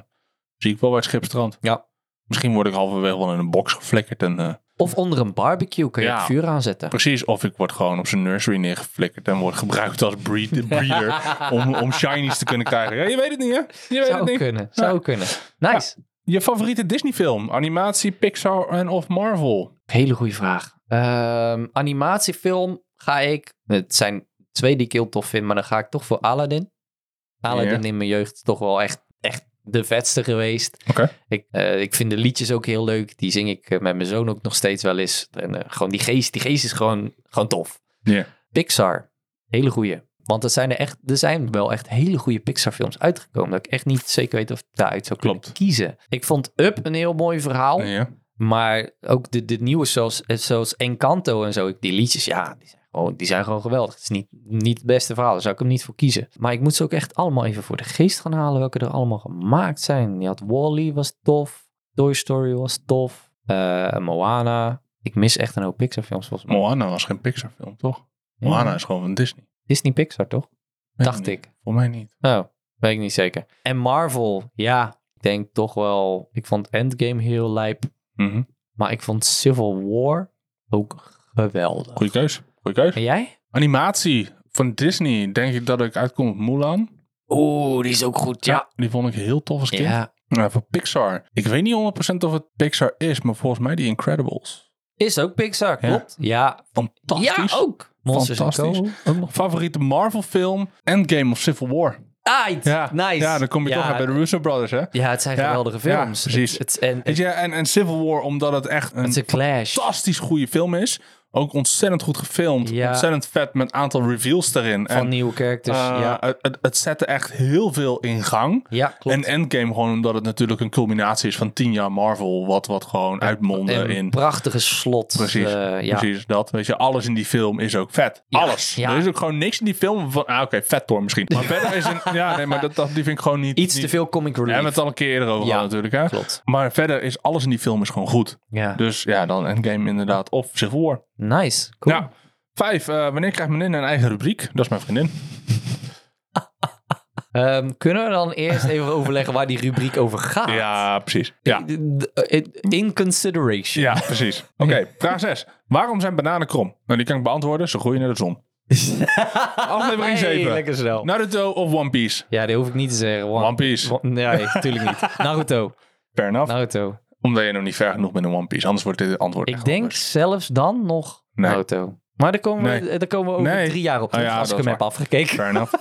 S2: zie ik wel waar het schip strandt.
S1: Ja.
S2: Misschien word ik halverwege wel in een box geflikkerd en eh,
S1: Of onder een barbecue kun je
S2: Ja.
S1: het vuur aanzetten.
S2: precies, of ik word gewoon op zijn nursery neergeflikkerd en word gebruikt als breed, breeder om, om shinies te kunnen krijgen. Ja, je weet het niet, hè? Je weet het
S1: Zou
S2: niet.
S1: kunnen, zou kunnen. Nice.
S2: Je favoriete Disney-film? Animatie, Pixar en of Marvel?
S1: Hele goede vraag. Ehm, animatiefilm ga ik... Het zijn twee die ik heel tof vind, maar dan ga ik toch voor Aladdin. Aladdin
S2: Ja.
S1: in mijn jeugd toch wel echt, echt de vetste geweest.
S2: Oké.
S1: Ik, eh, ik vind de liedjes ook heel leuk. Die zing ik eh, met mijn zoon ook nog steeds wel eens. En eh, gewoon die geest, die geest is gewoon, gewoon tof.
S2: Ja.
S1: Pixar, hele goeie. Want er zijn er, echt, er zijn wel echt hele goede Pixar-films uitgekomen. Dat ik echt niet zeker weet of ik daaruit zou kunnen
S2: Klopt.
S1: kiezen. Ik vond Up een heel mooi verhaal.
S2: Ja.
S1: Maar ook de, de nieuwe, zoals, eh, zoals Encanto en zo. ik- Die liedjes, ja, die zijn gewoon, die zijn gewoon geweldig. Het is niet, niet het beste verhaal, daar zou ik hem niet voor kiezen. Maar ik moet ze ook echt allemaal even voor de geest gaan halen. Welke er allemaal gemaakt zijn. Je had Wally, was tof. Toy Story was tof. Eh, Moana. Ik mis echt een hoop Pixar-films volgens mij.
S2: Moana was geen Pixar-film, toch?
S1: Ja.
S2: Moana is gewoon van Disney.
S1: Disney Pixar, toch?
S2: Weet
S1: Dacht
S2: niet.
S1: ik.
S2: Voor mij niet.
S1: Nou, weet ik niet zeker. En Marvel, ja, ik denk toch wel. Ik vond Endgame heel lijp.
S2: Mhm.
S1: Maar ik vond Civil War ook geweldig.
S2: Goeie keus. Goeie keus.
S1: En jij?
S2: Animatie van Disney. Denk ik dat ik uitkom op Mulan.
S1: Oeh, die is ook goed.
S2: Die vond ik heel tof als kind.
S1: Ja.
S2: Nou, voor Pixar. Ik weet niet 100% of het Pixar is, maar volgens mij die Incredibles.
S1: Is ook Pixar, klopt? Ja.
S2: Fantastisch.
S1: Ja, ook. Monsters
S2: Fantastisch.
S1: Co. Ook nog.
S2: Favoriete Marvel film? Endgame of Civil War.
S1: Aight,
S2: Ja,
S1: nice.
S2: ja dan kom je
S1: Ja,
S2: toch uit bij de Russo Brothers, hè?
S1: Ja, het zijn
S2: Ja,
S1: geweldige films.
S2: ja, precies.
S1: Het, het, en,
S2: Weet je, en, en Civil War, omdat het echt een
S1: het is een clash.
S2: fantastisch goede film is. Ook ontzettend goed gefilmd.
S1: Ja.
S2: Ontzettend vet met een aantal reveals erin.
S1: Van
S2: en
S1: nieuwe characters.
S2: eh,
S1: ja.
S2: het, het, het zette echt heel veel in gang.
S1: ja, klopt.
S2: En Endgame gewoon omdat het natuurlijk een culminatie is van tien jaar Marvel. Wat, wat gewoon uitmondde
S1: Een
S2: eh, in...
S1: prachtige slot.
S2: Precies,
S1: eh, ja.
S2: Precies, dat. Weet je, alles in die film is ook vet. alles.
S1: ja.
S2: Er is ook gewoon niks in die film van... Ah, oké, vet door misschien. Maar verder is een... Ja, nee, maar dat, dat, die vind ik gewoon niet...
S1: Iets
S2: niet-
S1: te veel comic
S2: We
S1: relief.
S2: hebben het al een keer eerder over
S1: Ja,
S2: gehad natuurlijk, hè?
S1: klopt.
S2: Maar verder is alles in die film is gewoon goed.
S1: Ja.
S2: Dus ja, dan Endgame inderdaad. Of Civil War.
S1: Nice. Cool.
S2: Ja. Vijf, eh, wanneer krijgt meneer een eigen rubriek? Dat is mijn vriendin.
S1: Ehm, kunnen we dan eerst even overleggen waar die rubriek over gaat?
S2: Ja, precies. Ja,
S1: D- d- In consideration.
S2: ja precies. Oké, vraag zes. Waarom zijn bananen krom? Nou, die kan ik beantwoorden. Ze groeien naar de zon. Aflevering
S1: Hey,
S2: zeven.
S1: Lekker snel.
S2: Naruto of One Piece?
S1: Ja, die hoef ik niet te zeggen. want-
S2: One Piece.
S1: want- Nee, natuurlijk niet. Naruto.
S2: Fair enough.
S1: Naruto.
S2: Omdat je nog niet ver genoeg bent in One Piece. Anders wordt dit het antwoord
S1: Nou- Ik
S2: echt
S1: denk
S2: anders.
S1: zelfs dan nog
S2: Nee.
S1: Naruto. Maar daar komen, we,
S2: Nee.
S1: daar komen we over
S2: Nee.
S1: drie jaar op
S2: Ah
S1: terug,
S2: ja,
S1: als ik
S2: dat
S1: hem
S2: is
S1: heb afgekeken.
S2: Fair enough.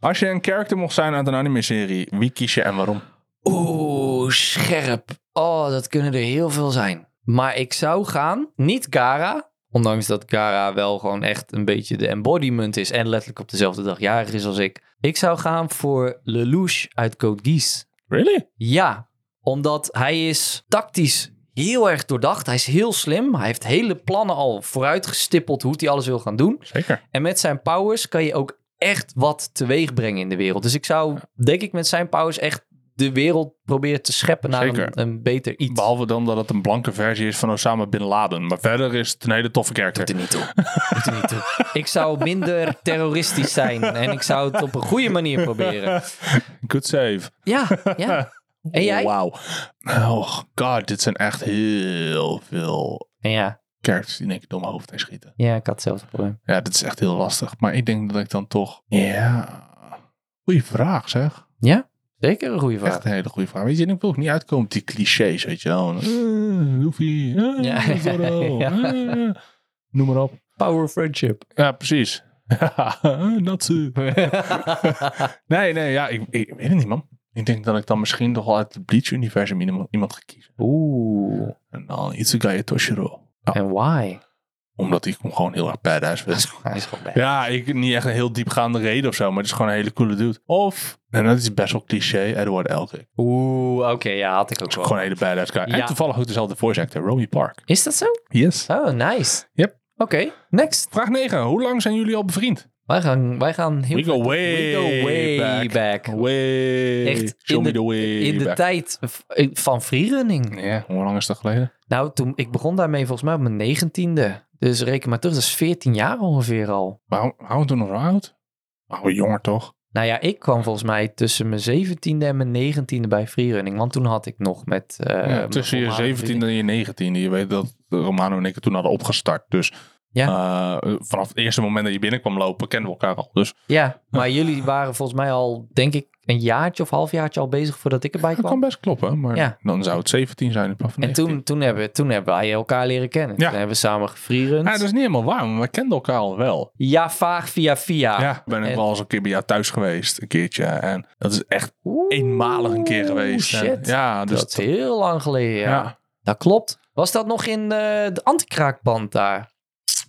S2: Als je een character mocht zijn uit een anime-serie, wie kies je en waarom?
S1: Oeh, scherp. Oh, dat kunnen er heel veel zijn. Maar ik zou gaan, niet Kara. Ondanks dat Kara wel gewoon echt een beetje de embodiment is. En letterlijk op dezelfde dag jarig is als ik. Ik zou gaan voor Lelouch uit Code Geass.
S2: Really?
S1: Ja, omdat hij is tactisch heel erg doordacht. Hij is heel slim. Hij heeft hele plannen al vooruitgestippeld hoe hij alles wil gaan doen.
S2: Zeker.
S1: En met zijn powers kan je ook echt wat teweeg brengen in de wereld. Dus ik zou, denk ik, met zijn powers echt de wereld proberen te scheppen naar
S2: Zeker.
S1: een, een beter iets.
S2: Behalve dan dat het een blanke versie is van Osama Bin Laden. Maar verder is het een hele toffe character.
S1: Doet er niet toe. Doet er niet toe. Ik zou minder terroristisch zijn en ik zou het op een goede manier proberen.
S2: Good save.
S1: Ja, ja. En jij?
S2: Wauw. Oh god, dit zijn echt heel veel
S1: Ja,
S2: characters die denk ik door mijn hoofd heen schieten.
S1: ja ik had hetzelfde probleem.
S2: Ja, dit is echt heel lastig. Maar ik denk dat ik dan toch... Ja... Goeie vraag zeg.
S1: Zeker een goede vraag.
S2: Echt een hele goede vraag. Weet je, en ik wil ook niet uitkomen op die clichés, weet je wel. Eh, Luffy, eh,
S1: Ja.
S2: Zoro,
S1: Ja.
S2: eh, noem maar op.
S1: Power friendship.
S2: Ja, precies. Natsu. nee, nee, ja, ik, ik weet het niet, man. Ik denk dat ik dan misschien toch wel uit het Bleach-universum iemand, iemand ga kiezen.
S1: Oeh.
S2: En dan Itsugaya Toshiro.
S1: En why?
S2: Omdat hij gewoon heel erg badass
S1: Hij
S2: vindt.
S1: is gewoon- hij is gewoon bad.
S2: Ja, ik, niet echt een heel diepgaande reden of zo, maar het is gewoon een hele coole dude. Of, en dat is best wel cliché, Edward Elric.
S1: Oeh, oké, ja, had ik ook wel.
S2: Gewoon een hele badass guy.
S1: Ja.
S2: En toevallig ook dezelfde voice actor, Romy Park.
S1: Is dat zo?
S2: Yes.
S1: Oh, nice.
S2: Yep.
S1: Oké, next.
S2: Vraag 9. Hoe lang zijn jullie al bevriend?
S1: Wij gaan, wij gaan heel
S2: We go way
S1: we go way
S2: back.
S1: back.
S2: Way.
S1: Echt
S2: Show
S1: in
S2: me
S1: de-
S2: the way
S1: In de
S2: back.
S1: tijd v- van freerunning.
S2: Ja, hoe lang is dat geleden?
S1: Nou, toen, ik begon daarmee volgens mij op mijn negentiende. Dus reken maar terug, dat is 14 jaar ongeveer al.
S2: Maar hou- houden we toen nog zo oud? Oh, jonger toch?
S1: Nou ja, ik kwam volgens mij tussen mijn zeventiende en mijn negentiende bij freerunning. Want toen had ik nog met... eh,
S2: ja,
S1: mijn
S2: tussen je
S1: voormalige
S2: 17 en je 19. Je weet dat Romano en ik het toen hadden opgestart. Dus
S1: Ja.
S2: eh, vanaf het eerste moment dat je binnenkwam lopen, kenden we elkaar al. Dus
S1: Ja, maar jullie waren volgens mij al, denk ik, een jaartje of halfjaartje al bezig voordat ik erbij
S2: dat kan
S1: kwam.
S2: best kloppen. Maar
S1: Ja.
S2: dan zou het 17 zijn in plaats van
S1: En
S2: 19.
S1: toen, toen, hebben, toen hebben wij elkaar leren kennen.
S2: Ja.
S1: Toen hebben we samen gefreerund.
S2: Ja, dus- dat is niet helemaal waar, maar we kenden elkaar al wel.
S1: Ja, vaag via via.
S2: Ja, ik ben ik
S1: Ah, en-
S2: wel eens een keer bij jou thuis geweest, een keertje. En dat is echt
S1: Oeh,
S2: eenmalig een keer geweest. En
S1: Shit.
S2: ja, dus
S1: dat is heel lang geleden. Ja.
S2: ja.
S1: Dat klopt. Was dat nog in eh, de antikraakband daar?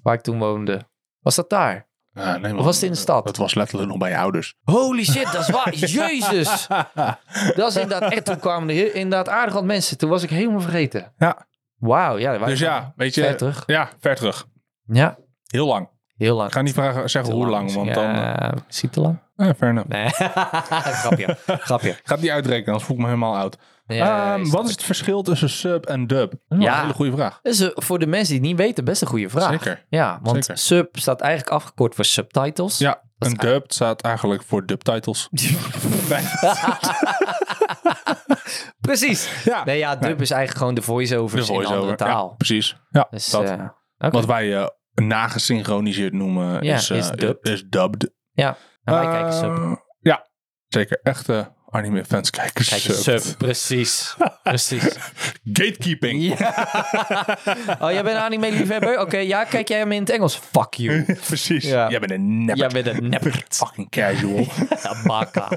S1: Waar ik toen woonde. Was dat daar?
S2: Ja, nee,
S1: Of was het in de stad?
S2: Dat was letterlijk nog bij je ouders.
S1: Holy shit, dat is waar. Jezus.
S2: Dus
S1: Dat is inderdaad echt. Toen kwamen er heel- inderdaad aardig wat mensen. Toen was ik helemaal vergeten.
S2: Ja.
S1: Wauw. Ja, wij
S2: dus ja, weet je.
S1: Ver terug.
S2: Ja, ver terug.
S1: Ja,
S2: Heel lang.
S1: heel
S2: Ik
S1: lang.
S2: ga niet vragen, zeggen
S1: Te
S2: hoe lang, want dan... eh
S1: Ja, misschien te lang.
S2: fair enough.
S1: Nee, grapje. grapje.
S2: Ik ga het niet uitrekenen, anders voel ik me helemaal oud.
S1: Ja,
S2: Ehm,
S1: is-
S2: wat is het verschil tussen sub en dub? Dat is wel
S1: Ja.
S2: een hele goede vraag.
S1: Dat is eh, voor de mensen die het niet weten best een goede vraag.
S2: Zeker.
S1: Ja, want
S2: Zeker.
S1: sub staat eigenlijk afgekort voor subtitles.
S2: Ja,
S1: Dat is
S2: een dub staat eigenlijk voor dubtitles. Nee.
S1: Precies.
S2: ja,
S1: Nee, ja, dub is eigenlijk gewoon de voice-overs
S2: de
S1: in een andere
S2: voice-over.
S1: taal.
S2: Ja, precies. Ja,
S1: Dus,
S2: dat.
S1: eh,
S2: Wat wij eh, nagesynchroniseerd noemen
S1: Ja,
S2: is, eh,
S1: is dubbed.
S2: is dubbed.
S1: nou, wij kijken sub.
S2: Eh, Ja, zeker. Echte anime fans kijken
S1: Kijken
S2: subbed.
S1: sub. Precies. Precies.
S2: Gatekeeping.
S1: Ja. Oh, jij bent een anime-liefhebber? Oké, ja, kijk jij hem in het Engels? Fuck you.
S2: Precies.
S1: Ja.
S2: Jij bent een
S1: Jij
S2: nepper.
S1: bent een neppert.
S2: Fucking casual.
S1: Ja, baka.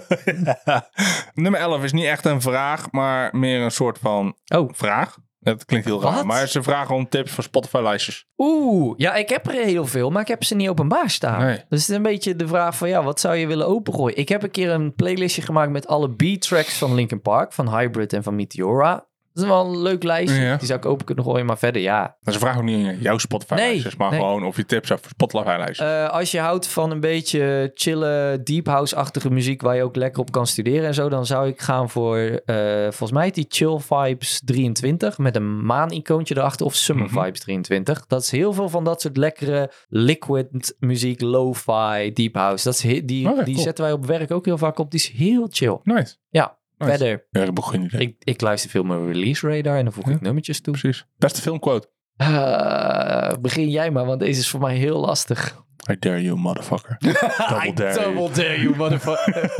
S2: Nummer 11 is niet echt een vraag, maar meer een soort van
S1: Oh,
S2: vraag. Het klinkt heel
S1: Wat?
S2: raar, maar ze vragen om tips voor Spotify-lijstjes.
S1: oeh. Ja, ik heb er heel veel, maar ik heb ze niet openbaar staan.
S2: Nee.
S1: Dus het is een beetje de vraag van, ja, wat zou je willen opengooien? Ik heb een keer een playlistje gemaakt met alle B-tracks van Linkin Park, van Hybrid en van Meteora. Dat is wel een leuk lijstje.
S2: Ja.
S1: Die zou ik open kunnen gooien, maar verder, ja,
S2: Maar ze vragen ook niet aan jouw Spotify-lijstjes,
S1: Nee,
S2: maar
S1: nee.
S2: gewoon of je tips hebt voor Spotify-lijstjes.
S1: Eh, als je houdt van een beetje chille, deep house-achtige muziek waar je ook lekker op kan studeren en zo, dan zou ik gaan voor, eh, volgens mij heet die Chill Vibes 23 met een maan-icoontje erachter of Summer
S2: Mhm.
S1: Vibes 23. Dat is heel veel van dat soort lekkere liquid muziek, lo-fi, deep house. Dat is he- die
S2: Oké,
S1: die
S2: Oh cool.
S1: zetten wij op werk ook heel vaak op. Die is heel chill.
S2: nice.
S1: Ja,
S2: Nice.
S1: verder.
S2: Ja, ik heb ook geen idee.
S1: Ik, ik luister veel mijn release radar en dan voeg
S2: Ja.
S1: ik nummertjes toe.
S2: Precies. Beste filmquote.
S1: Eh, begin jij maar, want deze is voor mij heel lastig.
S2: I dare you, motherfucker. Double
S1: I
S2: dare you.
S1: double dare you, motherfucker.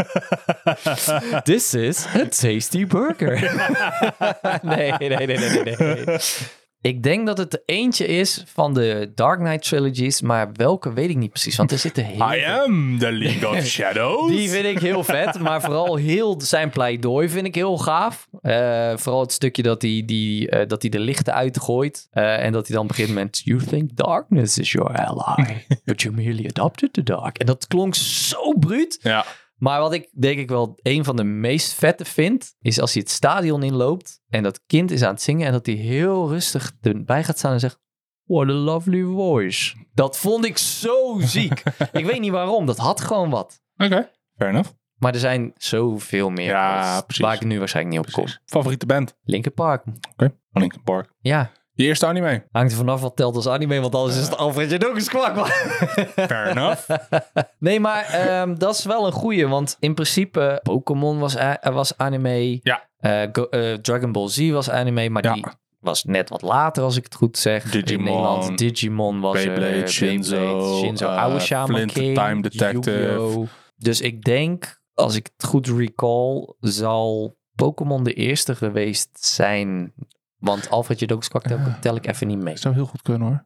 S1: This is a tasty burger. nee, nee, nee, nee, nee, nee. Ik denk dat het er eentje is van de Dark Knight trilogies, maar welke weet ik niet precies, want er zitten heel
S2: I
S1: veel.
S2: am the League of Shadows.
S1: Die vind ik heel vet, maar vooral heel zijn pleidooi vind ik heel gaaf. Eh, vooral het stukje dat hij die, eh, dat hij de lichten uitgooit eh, en dat hij dan begint met You think darkness is your ally, but you merely adopted the dark. En dat klonk zo bruut.
S2: Ja,
S1: Maar wat ik denk ik wel een van de meest vette vind, is als hij het stadion inloopt en dat kind is aan het zingen en dat hij heel rustig erbij gaat staan en zegt, what a lovely voice. Dat vond ik zo ziek. ik weet niet waarom, dat had gewoon wat.
S2: oké. Fair enough.
S1: Maar er zijn zoveel meer
S2: Ja,
S1: artiesten
S2: precies.
S1: waar ik nu waarschijnlijk niet op kom.
S2: Favoriete band?
S1: Linkin Park.
S2: Linkin Park.
S1: Ja,
S2: Je eerste anime?
S1: hangt er vanaf wat telt als anime, want anders is het Alfred Janokus kwak. man.
S2: Fair enough.
S1: nee, maar ehm, dat is wel een goeie, want in principe Pokémon was, a- was anime.
S2: Ja.
S1: Eh, Go- eh, Dragon Ball Z was anime, maar
S2: Ja.
S1: die was net wat later, als ik het goed zeg.
S2: Digimon.
S1: In Nederland. Digimon was er.
S2: Beyblade,
S1: Beyblade,
S2: Shinzo,
S1: Shinzo.
S2: eh,
S1: oude Shaman
S2: Flint the
S1: King,
S2: Time Detective.
S1: Yu-Gi-Oh. Dus ik denk, als ik het goed recall, zal Pokémon de eerste geweest zijn. Want Alfred Jadokskak tel,
S2: Ah.
S1: tel ik even niet mee.
S2: zou heel goed kunnen hoor.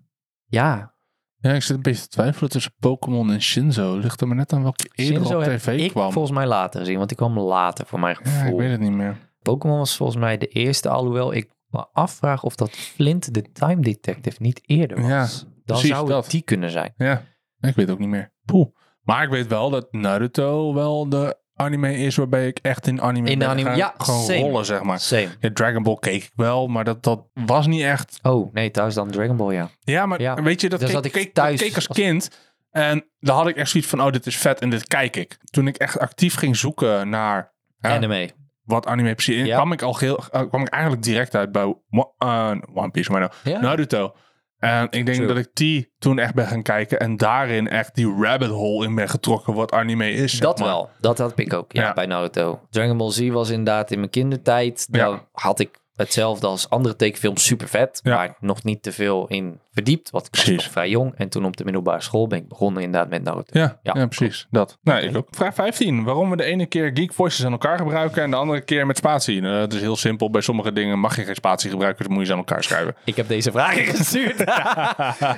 S1: Ja,
S2: Ja, ik zit een beetje te twijfelen tussen Pokémon en Shinzo. Ligt er maar net aan welke eerder
S1: Shinzo
S2: op
S1: heb
S2: tv
S1: ik
S2: kwam.
S1: volgens mij later gezien, want die kwam later voor mijn
S2: Ja, ik
S1: gevoel.
S2: weet het niet meer.
S1: Pokémon was volgens mij de eerste, alhoewel ik me afvraag of dat Flint de Time Detective niet eerder was. Dan
S2: Precies,
S1: zou
S2: dat.
S1: het die kunnen zijn.
S2: Ja, ik weet ook niet meer. Poeh. Maar ik weet wel dat Naruto wel de anime is waarbij ik echt in anime
S1: In de
S2: ben
S1: anime,
S2: gaan,
S1: ja,
S2: gaan
S1: same.
S2: rollen, zeg maar.
S1: Same.
S2: Ja, Dragon Ball keek ik wel, maar dat, dat was niet echt...
S1: Oh, nee, thuis dan Dragon Ball, ja.
S2: Ja, maar
S1: Ja,
S2: weet je, dat,
S1: daar
S2: keek,
S1: zat ik
S2: keek, dat
S1: thuis
S2: keek als
S1: als-
S2: kind. En daar had ik echt zoiets van, oh, dit is vet en dit kijk ik. Toen ik echt actief ging zoeken naar hè,
S1: Anime.
S2: wat anime precies is,
S1: Ja.
S2: kwam, ik al heel, eh, kwam ik eigenlijk direct uit bij Wo- eh, One Piece. Maar nou,
S1: Ja.
S2: Naruto. En ik denk
S1: True.
S2: dat ik die toen echt ben gaan kijken. En daarin echt die rabbit hole in ben getrokken wat anime is. zeg
S1: Dat
S2: maar.
S1: wel. Dat had ik ook ja,
S2: Ja.
S1: bij Naruto. Dragon Ball Z was inderdaad in mijn kindertijd.
S2: Ja.
S1: Dan had ik hetzelfde als andere tekenfilms super vet.
S2: Ja.
S1: Maar nog niet te veel in verdiept. Want ik was
S2: Precies.
S1: nog vrij jong. En toen op de middelbare school ben ik begonnen inderdaad met Naruto.
S2: Ja, ja,
S1: Ja,
S2: precies. Dat. Nou, ik ook. Vraag 15. Waarom we de ene keer Geek Voices aan elkaar gebruiken en de andere keer met spatie? Nou, dat is heel simpel. Bij sommige dingen mag je geen spatie gebruiken, dus moet je ze aan elkaar schuiven.
S1: Ik heb deze vragen gestuurd.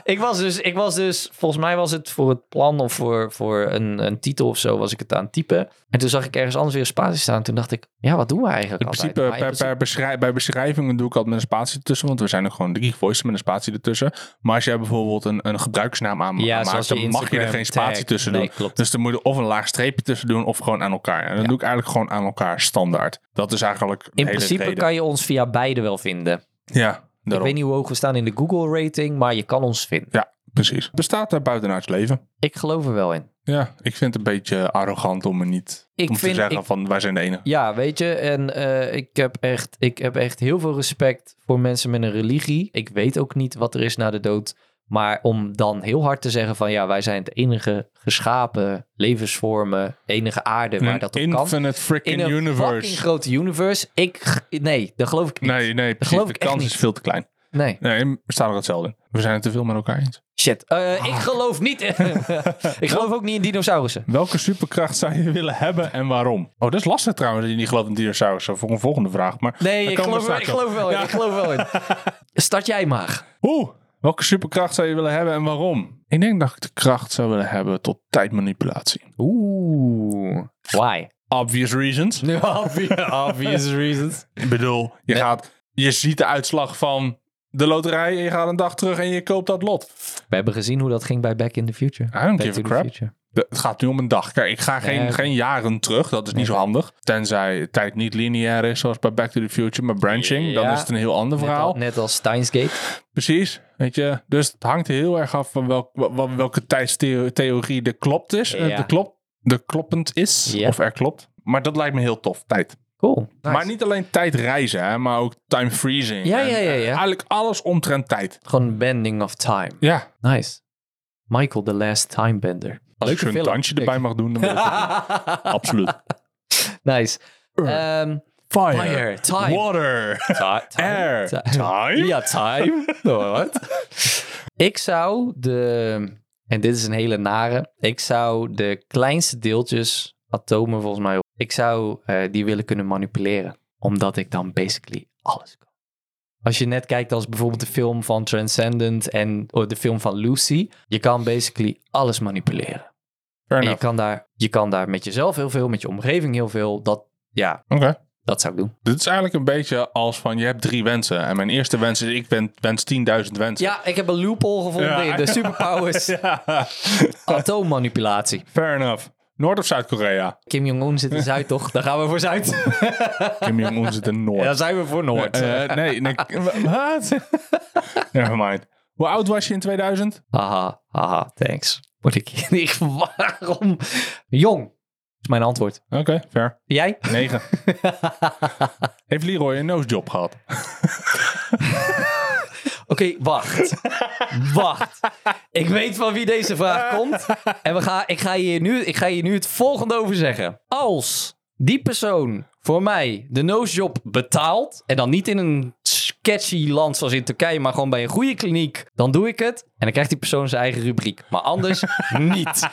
S1: ik, was dus, ik was dus, volgens mij was het voor het plan of voor, voor een, een titel of zo, was ik het aan het typen. En toen zag ik ergens anders weer een spatie staan. Toen dacht ik, ja, wat doen we eigenlijk?
S2: In principe,
S1: altijd?
S2: per,
S1: Maar in principe-
S2: per beschrij- bij beschrijvingen doe ik altijd met een spatie ertussen, want we zijn ook gewoon de Geek Voices met een spatie ertussen. Maar als jij bijvoorbeeld een, een gebruikersnaam aan
S1: Ja,
S2: maakt,
S1: zoals
S2: dan
S1: die
S2: mag je er
S1: Instagram
S2: geen spatie
S1: tag.
S2: tussen
S1: Nee,
S2: doen.
S1: klopt.
S2: Dus dan moet je of een laag streepje tussen doen of gewoon aan elkaar. En dat
S1: Ja.
S2: doe ik eigenlijk gewoon aan elkaar standaard. Dat is eigenlijk de
S1: in
S2: hele
S1: principe
S2: reden.
S1: kan je ons via beide wel vinden.
S2: Ja, daarom.
S1: Ik weet niet hoe hoog we staan in de Google rating, maar je kan ons vinden.
S2: Ja, precies. Bestaat daar buitenaards leven?
S1: Ik geloof er wel in.
S2: Ja, ik vind het een beetje arrogant om er niet
S1: Ik
S2: om
S1: vind-
S2: te zeggen
S1: ik-
S2: van wij zijn de enige.
S1: Ja, weet je, en eh, ik, heb echt, ik heb echt heel veel respect voor mensen met een religie. Ik weet ook niet wat er is na de dood. Maar om dan heel hard te zeggen van ja, wij zijn het enige geschapen levensvormen, enige aarde waar dat op kan.
S2: Infinite freaking
S1: In een fucking
S2: universe.
S1: grote universe. Ik, nee, daar geloof ik niet.
S2: Nee, nee, precies.
S1: geloof
S2: De
S1: ik echt
S2: kans
S1: niet.
S2: is veel te klein.
S1: Nee.
S2: Nee, we staan er hetzelfde in. We zijn het te veel met elkaar eens.
S1: Shit. Eh, Ik geloof niet. ik geloof ook niet in dinosaurussen.
S2: Welke superkracht zou je willen hebben en waarom? Oh, dat is lastig trouwens dat je niet gelooft in dinosaurussen. Voor een volgende vraag. Maar
S1: Nee,
S2: daar
S1: ik
S2: komen we
S1: geloof, er- ik
S2: straks op.
S1: geloof er wel in.
S2: Ja.
S1: Ik geloof er wel in. Start jij maar.
S2: Oeh, welke superkracht zou je willen hebben en waarom? Ik denk dat ik de kracht zou willen hebben tot tijdmanipulatie.
S1: Oeh. Why?
S2: Obvious reasons.
S1: Obvious, reasons.
S2: Ik bedoel, je,
S1: Nee.
S2: gaat, je ziet de uitslag van de loterij en je gaat een dag terug en je koopt dat lot.
S1: We hebben gezien hoe dat ging bij Back in the Future.
S2: I don't
S1: Back
S2: give
S1: to
S2: a
S1: the
S2: crap.
S1: Future.
S2: De- het gaat nu om een dag. Kijk, ik ga geen,
S1: Nee.
S2: geen jaren terug. Dat is niet zo handig. Tenzij tijd niet lineair is, zoals bij Back to the Future. Maar branching, dan
S1: Ja.
S2: is het een heel ander
S1: Net,
S2: verhaal.
S1: al- net als Steins Gate.
S2: Precies, weet je. Dus het hangt heel erg af van welk, wa- wa- welke tijdstheorie er klopt is. eh,
S1: Ja.
S2: De, klop, de kloppend is,
S1: Ja.
S2: of er klopt. Maar dat lijkt me heel tof, tijd.
S1: Cool. Nice.
S2: Maar niet alleen tijdreizen, hè, maar ook time freezing.
S1: Ja,
S2: En,
S1: ja, ja,
S2: eh,
S1: ja.
S2: Eigenlijk alles omtrent tijd.
S1: Gewoon Bending of Time.
S2: Ja,
S1: Nice. Michael, The Last Timebender.
S2: als
S1: Leuke
S2: ik zo'n
S1: film.
S2: dansje erbij mag doen, dan wil ik dat doen. absoluut.
S1: nice. Ehm,
S2: Fire,
S1: Fire, time.
S2: water,
S1: ti- time,
S2: air,
S1: ti-
S2: time.
S1: Ja, time. Wat? ik zou de... En dit is een hele nare. Ik zou de kleinste deeltjes, atomen volgens mij, ik zou eh, die willen kunnen manipuleren. Omdat ik dan basically alles kan. Als je net kijkt als bijvoorbeeld de film van Transcendent en oh, de film van Lucy. Je kan basically alles manipuleren.
S2: Fair
S1: En je
S2: enough.
S1: kan, daar, je kan daar met jezelf heel veel, met je omgeving heel veel. Dat, ja,
S2: Oké.
S1: dat zou ik doen.
S2: Dit is eigenlijk een beetje als van, je hebt drie wensen. En mijn eerste wens is, ik ben, wens 10.000 wensen.
S1: Ja, ik heb een loophole gevonden
S2: Ja.
S1: in de superpowers.
S2: Ja.
S1: Atoommanipulatie.
S2: Fair enough. Noord- of Zuid-Korea?
S1: Kim Jong-un zit in Zuid, toch? Daar gaan we voor Zuid.
S2: Kim Jong-un zit in Noord.
S1: Daar zijn we voor Noord.
S2: Eh, nee, nee. Wat? Never mind. Hoe oud was je in 2000?
S1: Haha, haha, thanks. Word ik niet waarom? Jong, is mijn antwoord.
S2: Oké, fair.
S1: Jij?
S2: 9. Heeft Leroy een nosejob gehad?
S1: Oké, wacht. wacht. Ik weet van wie deze vraag komt. En we gaan, ik, ga hier nu, ik ga hier nu het volgende over zeggen. Als die persoon voor mij de nosejob betaalt... en dan niet in een sketchy land zoals in Turkije... maar gewoon bij een goede kliniek, dan doe ik het. En dan krijgt die persoon zijn eigen rubriek. Maar anders niet.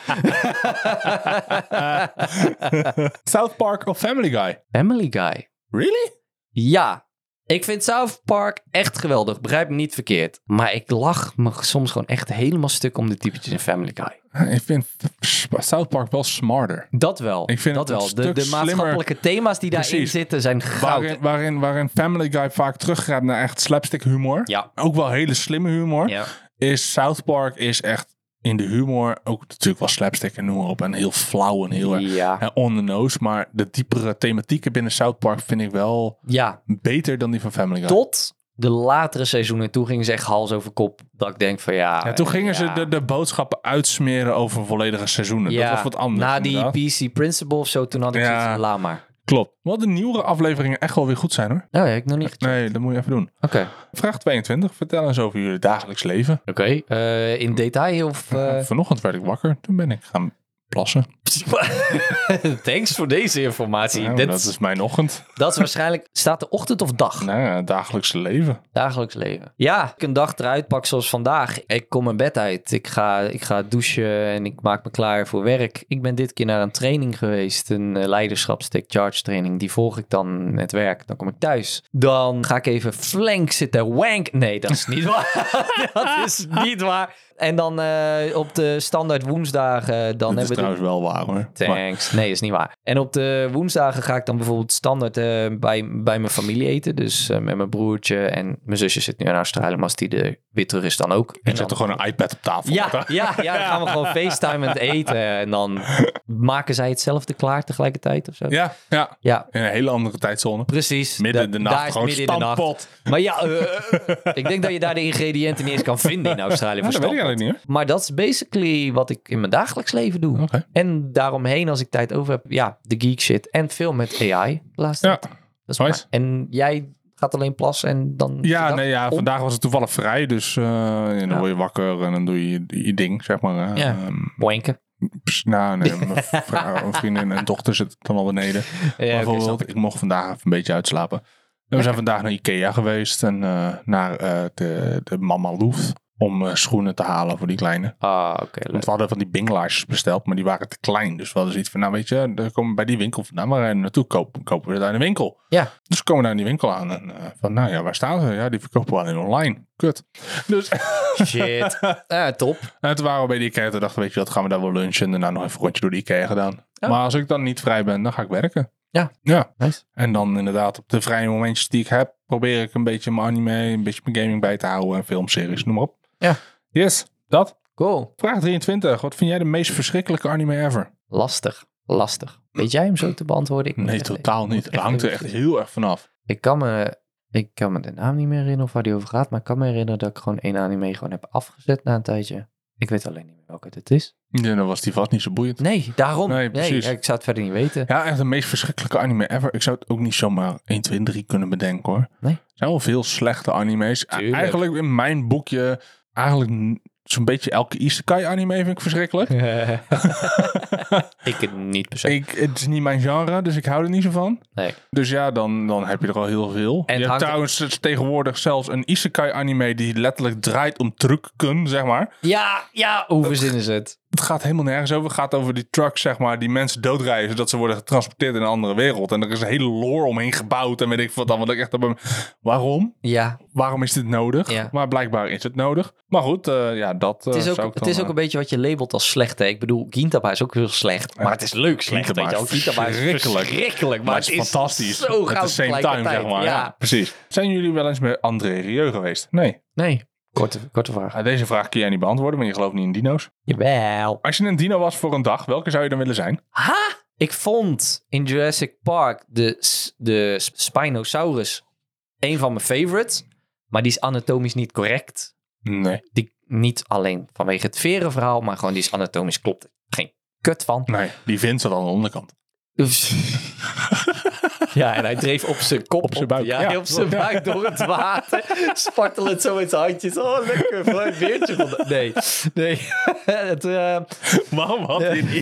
S2: South Park of Family Guy?
S1: Family Guy.
S2: Really?
S1: Ja, ik vind South Park echt geweldig. Begrijp me niet verkeerd. Maar ik lach me soms gewoon echt helemaal stuk om de typetjes in Family Guy.
S2: Ik vind South Park wel smarter.
S1: Dat wel.
S2: Ik vind
S1: dat
S2: het een
S1: wel. De,
S2: stuk
S1: de
S2: slimmer.
S1: maatschappelijke thema's die daarin
S2: Precies.
S1: zitten zijn goud.
S2: Waarin, waarin, waarin Family Guy vaak teruggaat naar echt slapstick humor.
S1: Ja.
S2: Ook wel hele slimme humor.
S1: Ja.
S2: is South Park is echt in de humor, ook natuurlijk wel slapstick en noem maar op, en heel flauw en heel erg
S1: Ja.
S2: eh, on the nose. Maar de diepere thematieken binnen South Park vind ik wel
S1: ja,
S2: beter dan die van Family Guy.
S1: tot de latere seizoenen. Toen gingen ze echt hals over kop. Dat ik denk van ja...
S2: Ja, toen gingen
S1: ja.
S2: ze de, de boodschappen uitsmeren over volledige seizoenen.
S1: Ja,
S2: Dat was wat anders.
S1: Na die
S2: inderdaad.
S1: PC Principle of zo, toen had ik
S2: Ja.
S1: zoiets van, laat maar.
S2: Klopt. Wat de nieuwere afleveringen echt wel weer goed zijn hoor.
S1: Oh, ja, ik nog niet. gecheckt.
S2: Nee, dat moet je even doen.
S1: Oké.
S2: Vraag 22. Vertel eens over jullie dagelijks leven.
S1: Oké. eh, in detail of... eh,
S2: Vanochtend werd ik wakker. Toen ben ik gaan plassen.
S1: Thanks voor deze informatie.
S2: Nou,
S1: Dit,
S2: Dat is mijn ochtend.
S1: dat is waarschijnlijk... Staat de ochtend of dag?
S2: Nou, ja, dagelijkse leven.
S1: Dagelijks leven. Ja, ik een dag eruit pak zoals vandaag. Ik kom mijn bed uit. Ik ga, ik ga douchen en ik maak me klaar voor werk. Ik ben dit keer naar een training geweest. Een eh, leiderschapstake charge training. Die volg ik dan met werk. Dan kom ik thuis. Dan ga ik even flank zitten wank. Nee, dat is niet waar. dat is niet waar. En dan eh, op de standaard woensdagen eh, dan
S2: dat
S1: hebben we...
S2: is
S1: de-
S2: trouwens wel waar hoor. Maar-
S1: Thanks. Nee, is niet waar. En op de woensdagen ga ik dan bijvoorbeeld standaard eh, bij, bij mijn familie eten. Dus eh, met mijn broertje en mijn zusje zit nu in Australië. Maar als die de weer terug is, dan ook. En
S2: ik zet
S1: dan-
S2: er gewoon een iPad op tafel.
S1: ja,
S2: Wat, hè?
S1: ja, ja, dan gaan we gewoon FaceTime en eten. En dan maken zij hetzelfde klaar tegelijkertijd of zo.
S2: ja, ja.
S1: Ja,
S2: In een hele andere tijdzone.
S1: precies.
S2: Midden
S1: Da-
S2: in de
S1: daar
S2: nacht.
S1: is
S2: Gewoon
S1: midden in de nacht.
S2: stampot.
S1: Maar ja, eh, ik denk dat je daar de ingrediënten niet eens kan vinden in Australië.
S2: Ja,
S1: voor
S2: dat weet ik
S1: stampot.
S2: eigenlijk niet hoor.
S1: Maar dat is basically wat ik in mijn dagelijks leven doe.
S2: Oké.
S1: En daaromheen, als ik tijd over heb, ja, de geek shit. En veel met AI de laatste
S2: Ja.
S1: tijd. Dat is
S2: Nice.
S1: waar. En jij gaat alleen plassen en dan...
S2: Ja,
S1: dag
S2: nee, ja,
S1: op.
S2: vandaag was het toevallig vrij, dus eh, en dan
S1: Ja.
S2: word je wakker en dan doe je je, je ding, zeg maar. eh.
S1: Ja.
S2: Ehm,
S1: Boinken.
S2: pss, nou, nee, mijn vrouw, mijn vriendin en dochter zitten dan al beneden.
S1: Ja, oké,
S2: Bijvoorbeeld,
S1: snap ik.
S2: ik mocht vandaag even een beetje uitslapen. En we zijn vandaag naar Ikea geweest en eh, naar eh, de, de Mama Loef om eh, schoenen te halen voor die kleine.
S1: Ah, oké, leuk.
S2: Want we hadden van die binglaarsjes besteld, maar die waren te klein. Dus we hadden zoiets van, nou weet je, dan komen we bij die winkel vandaan. Maar rijden we naartoe, kopen, kopen we daar in de winkel.
S1: Ja.
S2: Dus we komen daar in die winkel aan. En eh, van, nou ja, waar staan ze? Ja, die verkopen we alleen online. Kut. Dus
S1: Shit. Eh, top.
S2: en toen waren we bij de Ikea. Toen dachten we, weet je wat, gaan we daar wel lunchen. En daarna nog even een rondje door de Ikea gedaan.
S1: Ja.
S2: Maar als ik dan niet vrij ben, dan ga ik werken.
S1: Ja.
S2: Ja.
S1: Nice.
S2: En dan inderdaad, op de vrije momentjes die ik heb, probeer ik een beetje mijn anime, een beetje mijn gaming bij te houden. En filmseries, noem maar op.
S1: Ja.
S2: Yes, dat.
S1: Cool.
S2: Vraag 23. Wat vind jij de meest verschrikkelijke anime ever?
S1: Lastig. Lastig. Weet jij hem zo te beantwoorden? Ik moet
S2: Nee,
S1: echt-
S2: totaal niet.
S1: echt
S2: Het hangt er
S1: even-
S2: echt heel erg vanaf.
S1: Ik kan me... Ik kan me de naam niet meer herinneren of waar die over gaat. Maar ik kan me herinneren dat ik gewoon één anime gewoon heb afgezet na een tijdje. Ik weet alleen niet meer welke het is.
S2: Ja, dan was die vast niet zo boeiend.
S1: Nee, daarom.
S2: Nee,
S1: Nee,
S2: precies.
S1: ja, ik zou het verder niet weten.
S2: Ja, echt de meest verschrikkelijke anime ever. Ik zou het ook niet zomaar 1, 2, 3 kunnen bedenken hoor.
S1: Nee.
S2: Er zijn wel veel slechte anime's. E-
S1: Tuurlijk.
S2: Eigenlijk in mijn boekje, eigenlijk n- zo'n beetje elke isekai anime vind ik verschrikkelijk.
S1: ik het niet per se.
S2: Ik, het is niet mijn genre, dus ik hou er niet zo van.
S1: Nee.
S2: Dus ja, dan, dan heb je er al heel veel.
S1: het
S2: je hebt
S1: hangt-
S2: trouwens tegenwoordig zelfs een isekai anime die letterlijk draait om trucken, zeg maar.
S1: Ja, ja, hoe verzinnen ze het?
S2: Het gaat helemaal nergens over. Het gaat over die trucks, zeg maar, die mensen doodrijden, zodat ze worden getransporteerd in een andere wereld. En er is een hele lore omheen gebouwd en weet ik wat dan. Want ik echt op een... Waarom?
S1: Ja,
S2: Waarom is dit nodig?
S1: Ja.
S2: Maar blijkbaar is het nodig. Maar goed, eh, ja, dat
S1: het is
S2: eh, zou
S1: ook,
S2: ik
S1: het
S2: dan,
S1: is ook een beetje wat je labelt als slecht. Hè? Ik bedoel, Gintaba is ook heel slecht, maar het is leuk slecht.
S2: Gintama
S1: Weet je wel.
S2: is
S1: Gintama is
S2: verschrikkelijk.
S1: verschrikkelijk, maar het is
S2: fantastisch.
S1: zo
S2: At the
S1: goud
S2: same time, zeg
S1: tegelijkertijd.
S2: maar. Ja.
S1: Ja.
S2: precies. Zijn jullie wel eens met André Rieu geweest? Nee.
S1: Nee, korte, korte vraag.
S2: Nou, Deze vraag kun jij niet beantwoorden, want je gelooft niet in dino's.
S1: Jawel.
S2: Als je een dino was voor een dag, welke zou je dan willen zijn?
S1: Ha! Ik vond in Jurassic Park de, s- de Spinosaurus een van mijn favorites, maar die is anatomisch niet correct.
S2: Nee.
S1: die niet alleen vanwege het veren verhaal, maar gewoon die is anatomisch klopt. Geen kut van.
S2: Nee, die vindt ze dan aan de onderkant.
S1: ja, en hij dreef op zijn kop.
S2: Op zijn buik,
S1: ja,
S2: ja.
S1: op zijn buik door het water. Spartelend zo met zijn handjes. Oh, lekker. Een beertje. Van nee, nee. het, eh,
S2: Waarom had hij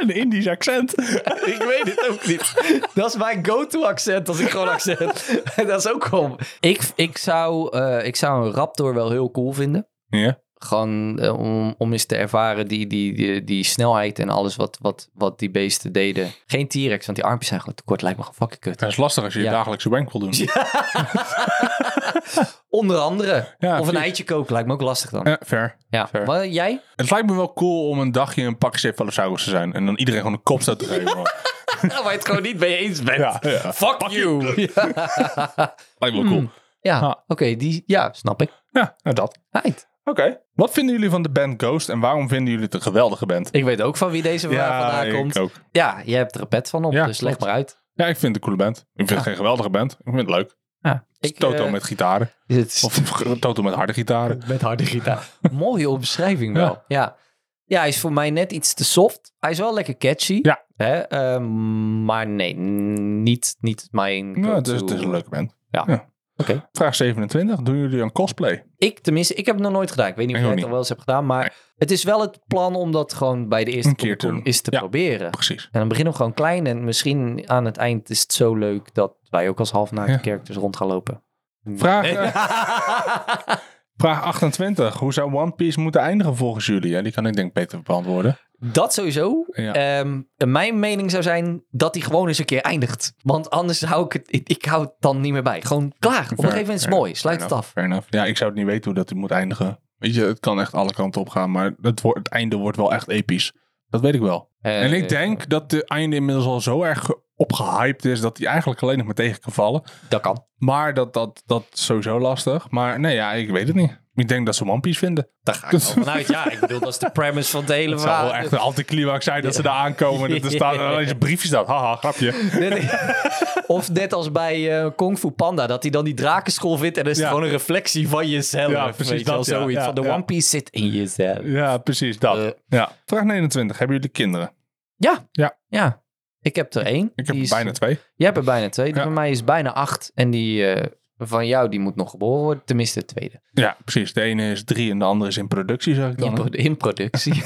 S2: een Indisch accent?
S1: ik weet het ook niet. Dat is mijn go-to accent als ik gewoon accent. dat is ook gewoon... Ik, ik, zou, eh, ik zou een raptor wel heel cool vinden.
S2: Ja.
S1: Gewoon eh, om, om eens te ervaren die, die, die, die snelheid en alles wat, wat, wat die beesten deden. Geen T-Rex, want die armpjes zijn gewoon te kort. Lijkt me gewoon fucking kut.
S2: Dat is lastig als je je
S1: Ja.
S2: dagelijkse wank wil doen.
S1: Onder andere.
S2: Ja,
S1: of een
S2: precies.
S1: eitje koken lijkt me ook lastig dan.
S2: Ja, fair.
S1: Ja.
S2: fair.
S1: Wat, jij?
S2: Het lijkt me wel cool om een dagje een pak Cephalosaurus te zijn. En dan iedereen gewoon een kopstoot te geven.
S1: Nou, Waar je het gewoon niet mee eens bent.
S2: Ja, ja.
S1: Fuck you. Ja,
S2: Lijkt me wel cool.
S1: ja.
S2: Ah.
S1: oké. die ja, snap ik.
S2: Ja, nou dat.
S1: Right.
S2: Oké. Wat vinden jullie van de band Ghost en waarom vinden jullie het een geweldige band?
S1: Ik weet ook van wie deze vraag vandaan
S2: ik
S1: komt.
S2: ook.
S1: Ja, je hebt er een pet van op,
S2: Ja,
S1: dus leg
S2: klopt.
S1: maar uit.
S2: Ja, ik vind het een coole band. Ik vind
S1: Ja.
S2: het geen geweldige band. Ik vind het leuk.
S1: Ja,
S2: Het is Toto
S1: eh,
S2: met gitaren.
S1: het is-
S2: Of Toto met harde gitaren.
S1: Met harde gitaar. Mooie omschrijving wel. Ja. ja. hij is voor mij net iets te soft. Hij is wel lekker catchy.
S2: Ja.
S1: Hè? ehm, maar nee, n- niet, niet mijn
S2: Nou, het,
S1: go-to.
S2: is, het is een leuke band.
S1: Ja. Oké.
S2: Vraag 27. Doen jullie een cosplay?
S1: Ik tenminste, ik heb het nog nooit gedaan. Ik weet niet of
S2: Ik
S1: jij
S2: ook
S1: het al
S2: niet.
S1: wel eens hebt gedaan. Maar het is wel het plan om dat gewoon bij de eerste
S2: Een keer te
S1: Comic-Con
S2: doen.
S1: eens te
S2: Ja.
S1: proberen.
S2: Precies.
S1: En dan beginnen we gewoon klein. En misschien aan het eind is het zo leuk dat wij ook als halfnaakte
S2: Ja.
S1: characters rond gaan lopen.
S2: Vraag,
S1: Nee.
S2: eh, vraag 28. Hoe zou One Piece moeten eindigen volgens jullie? Ja, die kan ik denk ik beter beantwoorden.
S1: Dat sowieso.
S2: Ja.
S1: Ehm, mijn mening zou zijn dat hij gewoon eens een keer eindigt. Want anders hou ik het, ik, ik hou het dan niet meer bij. Gewoon klaar. Op een gegeven moment is het
S2: fair-
S1: mooi. Sluit
S2: fair
S1: het af.
S2: enough, Fair enough. Ja, ik zou het niet weten hoe dat het moet eindigen. Weet je, het kan echt alle kanten op gaan. Maar het, wordt- het einde wordt wel echt episch. Dat weet ik wel.
S1: Eh,
S2: En ik denk dat de einde inmiddels al zo erg opgehyped is dat hij eigenlijk alleen nog maar tegen kan vallen.
S1: Dat kan.
S2: Maar dat, dat, dat is sowieso lastig. Maar nee, ja, ik weet het niet. Ik denk dat ze One Piece vinden.
S1: Daar ga ik wel vanuit. Ja, ik bedoel, dat is de premise van het hele
S2: Het zou
S1: verhaal.
S2: wel echt een anticlimax zijn dat ze daar aankomen. en Dat er staat en alleen een briefje staat. Haha, grapje.
S1: Of net als bij eh Kung Fu Panda, dat hij dan die drakenschool vindt en dat is
S2: Ja.
S1: het gewoon een reflectie van jezelf.
S2: Ja,
S1: weet
S2: precies
S1: je wel,
S2: dat, ja,
S1: zoiets.
S2: ja,
S1: van de
S2: ja. Mm.
S1: One Piece zit in jezelf.
S2: Ja, precies dat.
S1: Eh.
S2: ja. Vraag 29. Hebben jullie kinderen?
S1: Ja.
S2: Ja.
S1: ja. Ik heb er één.
S2: Ik heb
S1: Die is- eh,
S2: bijna twee.
S1: Jij hebt er bijna twee. Die
S2: Ja.
S1: van mij is bijna acht. En die eh, van jou, die moet nog geboren worden. Tenminste, de tweede.
S2: Ja, precies. De ene is drie en de andere is in productie, zeg ik dan.
S1: In, pro- in productie.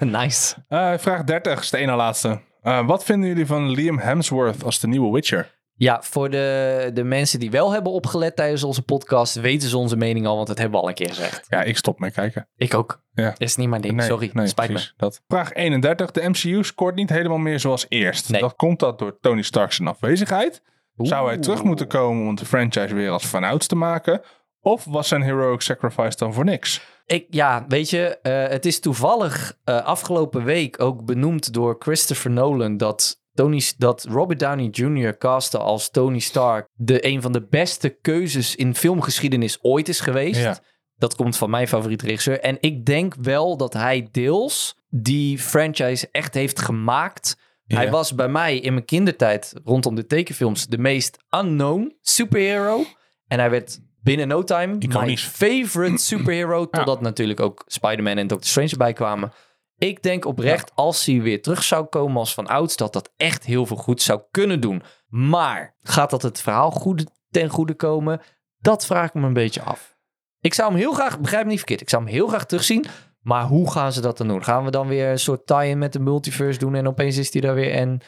S1: nice.
S2: Eh, vraag 30 is de ene laatste. Eh, wat vinden jullie van Liam Hemsworth als de nieuwe Witcher?
S1: Ja, voor de, de mensen die wel hebben opgelet tijdens onze podcast, weten ze onze mening al, want dat hebben we al een keer gezegd.
S2: Ja, ik stop met kijken.
S1: Ik ook.
S2: Ja.
S1: Is niet mijn ding.
S2: Nee,
S1: Sorry,
S2: nee,
S1: spijt
S2: precies, Dat. Vraag 31. De MCU scoort niet helemaal meer zoals eerst.
S1: Nee.
S2: Dat komt dat door Tony Stark's afwezigheid?
S1: me. Oeh.
S2: Zou hij terug moeten komen om de franchise weer als vanouds te maken? Of was zijn heroic sacrifice dan voor niks?
S1: Ik, ja, weet je, eh, het is toevallig eh, afgelopen week ook benoemd door Christopher Nolan dat, Tony, dat Robert Downey Jr. casten als Tony Stark de een van de beste keuzes in filmgeschiedenis ooit is geweest.
S2: Ja.
S1: Dat komt van mijn favoriete regisseur. En ik denk wel dat hij deels die franchise echt heeft gemaakt. Hij
S2: Ja.
S1: was bij mij in mijn kindertijd rondom de tekenfilms de meest unknown superhero. En hij werd binnen no time mijn
S2: Iconisch.
S1: favorite superhero. Totdat natuurlijk ook Spider-Man en Doctor Strange erbij kwamen. Ik denk oprecht, als hij weer terug zou komen als van ouds, dat dat echt heel veel goed zou kunnen doen. Maar gaat dat het verhaal goed ten goede komen? Dat vraag ik me een beetje af. Ik zou hem heel graag, begrijp me niet verkeerd, ik zou hem heel graag terugzien. Maar hoe gaan ze dat dan doen? Gaan we dan weer een soort tie-in met de multiverse doen en opeens is hij daar weer en...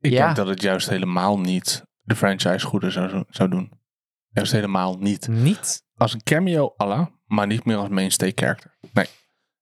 S2: Ik
S1: Ja.
S2: denk dat het juist helemaal niet de franchise goede zou, zou doen. Juist helemaal niet.
S1: Niet.
S2: Als een cameo, Allah, maar niet meer als mainstay character. Nee.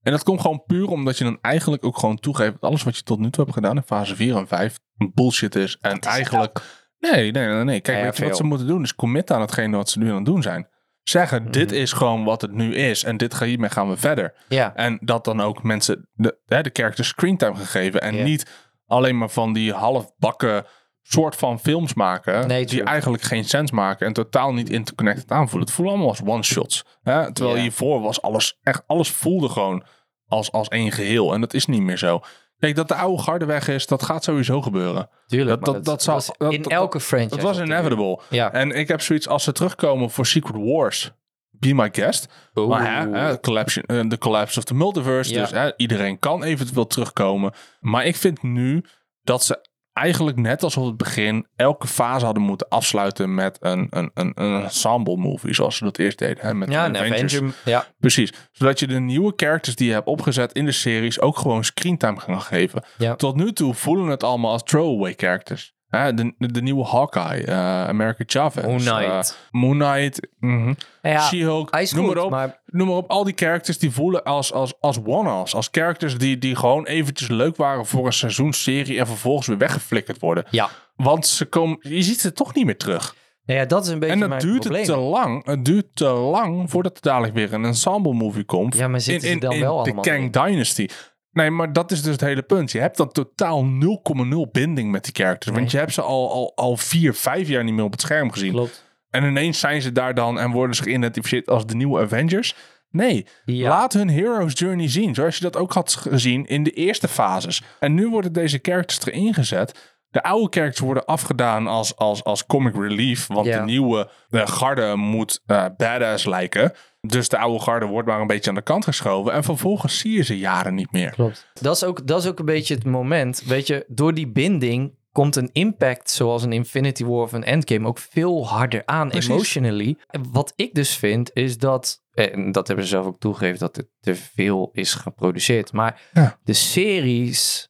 S2: En dat komt gewoon puur omdat je dan eigenlijk ook gewoon toegeeft... dat alles wat je tot nu toe hebt gedaan in fase 4 en 5 bullshit is. En eigenlijk Nee, nee, nee. nee. Kijk,
S1: Ja,
S2: weet je
S1: veel.
S2: wat ze moeten doen? Is committen aan hetgeen wat ze nu aan het doen zijn. Zeggen, dit
S1: Mhm.
S2: is gewoon wat het nu is. En dit ga, hiermee gaan we verder.
S1: Ja.
S2: En dat dan ook mensen de, hè, de character screentime gegeven. En
S1: Ja.
S2: niet alleen maar van die halfbakken soort van films maken.
S1: Nee,
S2: die
S1: true.
S2: eigenlijk geen sens maken. En totaal niet interconnected aanvoelen. Het voelde allemaal als one-shots. hè. Terwijl
S1: Ja.
S2: hiervoor was alles, echt alles voelde gewoon als, als één geheel. En dat is niet meer zo. Kijk, dat de oude garde weg is, dat gaat sowieso gebeuren.
S1: Tuurlijk.
S2: Dat-
S1: maar
S2: dat- dat zou-
S1: was
S2: dat-
S1: in
S2: dat-
S1: elke franchise.
S2: Dat was inevitable.
S1: Ja.
S2: En ik heb zoiets als ze terugkomen voor Secret Wars. Be my guest.
S1: Oh.
S2: Maar hè, hè, collapse, eh, the collapse of the multiverse.
S1: Ja.
S2: Dus hè, iedereen kan eventueel terugkomen. Maar ik vind nu dat ze eigenlijk net als op het begin elke fase hadden moeten afsluiten met een, een, een, een ensemble movie. Zoals ze dat eerst deden. Hè, met
S1: ja,
S2: de
S1: een Avenger. Ja.
S2: Precies. Zodat je de nieuwe characters die je hebt opgezet in de series ook gewoon screentime gaan geven.
S1: Ja.
S2: Tot nu toe voelen het allemaal als throwaway characters. Hè, de, de, de nieuwe Hawkeye, eh America Chavez,
S1: Moon
S2: eh,
S1: Knight.
S2: Moon Knight, mhm.
S1: ja,
S2: She-Hulk,
S1: hij is
S2: noem
S1: goed,
S2: maar op.
S1: maar
S2: Noem maar op, al die characters die voelen als, als, als one-offs. Als characters die, die gewoon eventjes leuk waren voor een seizoensserie en vervolgens weer weggeflikkerd worden.
S1: ja.
S2: Want ze komen, je ziet ze toch niet meer terug.
S1: Nou ja, dat is een beetje
S2: En dat
S1: mijn
S2: duurt
S1: probleem.
S2: het te lang. Het duurt te lang voordat er dadelijk weer een ensemble movie komt.
S1: Ja, maar zitten ze dan wel
S2: de
S1: allemaal
S2: Kang Dynasty. Nee, maar dat is dus het hele punt. Je hebt dan totaal 0,0 binding met die characters. Want
S1: Nee.
S2: je hebt ze al, al, al vier, vijf jaar niet meer op het scherm gezien.
S1: Klopt.
S2: En ineens zijn ze daar dan en worden ze geïdentificeerd als de nieuwe Avengers. Nee,
S1: Ja.
S2: laat hun hero's journey zien. Zoals je dat ook had gezien in de eerste fases. En nu worden deze characters erin gezet. De oude characters worden afgedaan als, als, als comic relief. Want
S1: Ja.
S2: de nieuwe de garde moet eh, badass lijken. Dus de oude garde wordt maar een beetje aan de kant geschoven. En vervolgens zie je ze jaren niet meer.
S1: Klopt. Dat is, ook, dat is ook een beetje het moment. Weet je, door die binding komt een impact zoals een Infinity War of een Endgame ook veel harder aan
S2: Precies.
S1: emotionally. En wat ik dus vind is dat, eh, en dat hebben ze zelf ook toegegeven, dat er te veel is geproduceerd. Maar
S2: Ja.
S1: de series,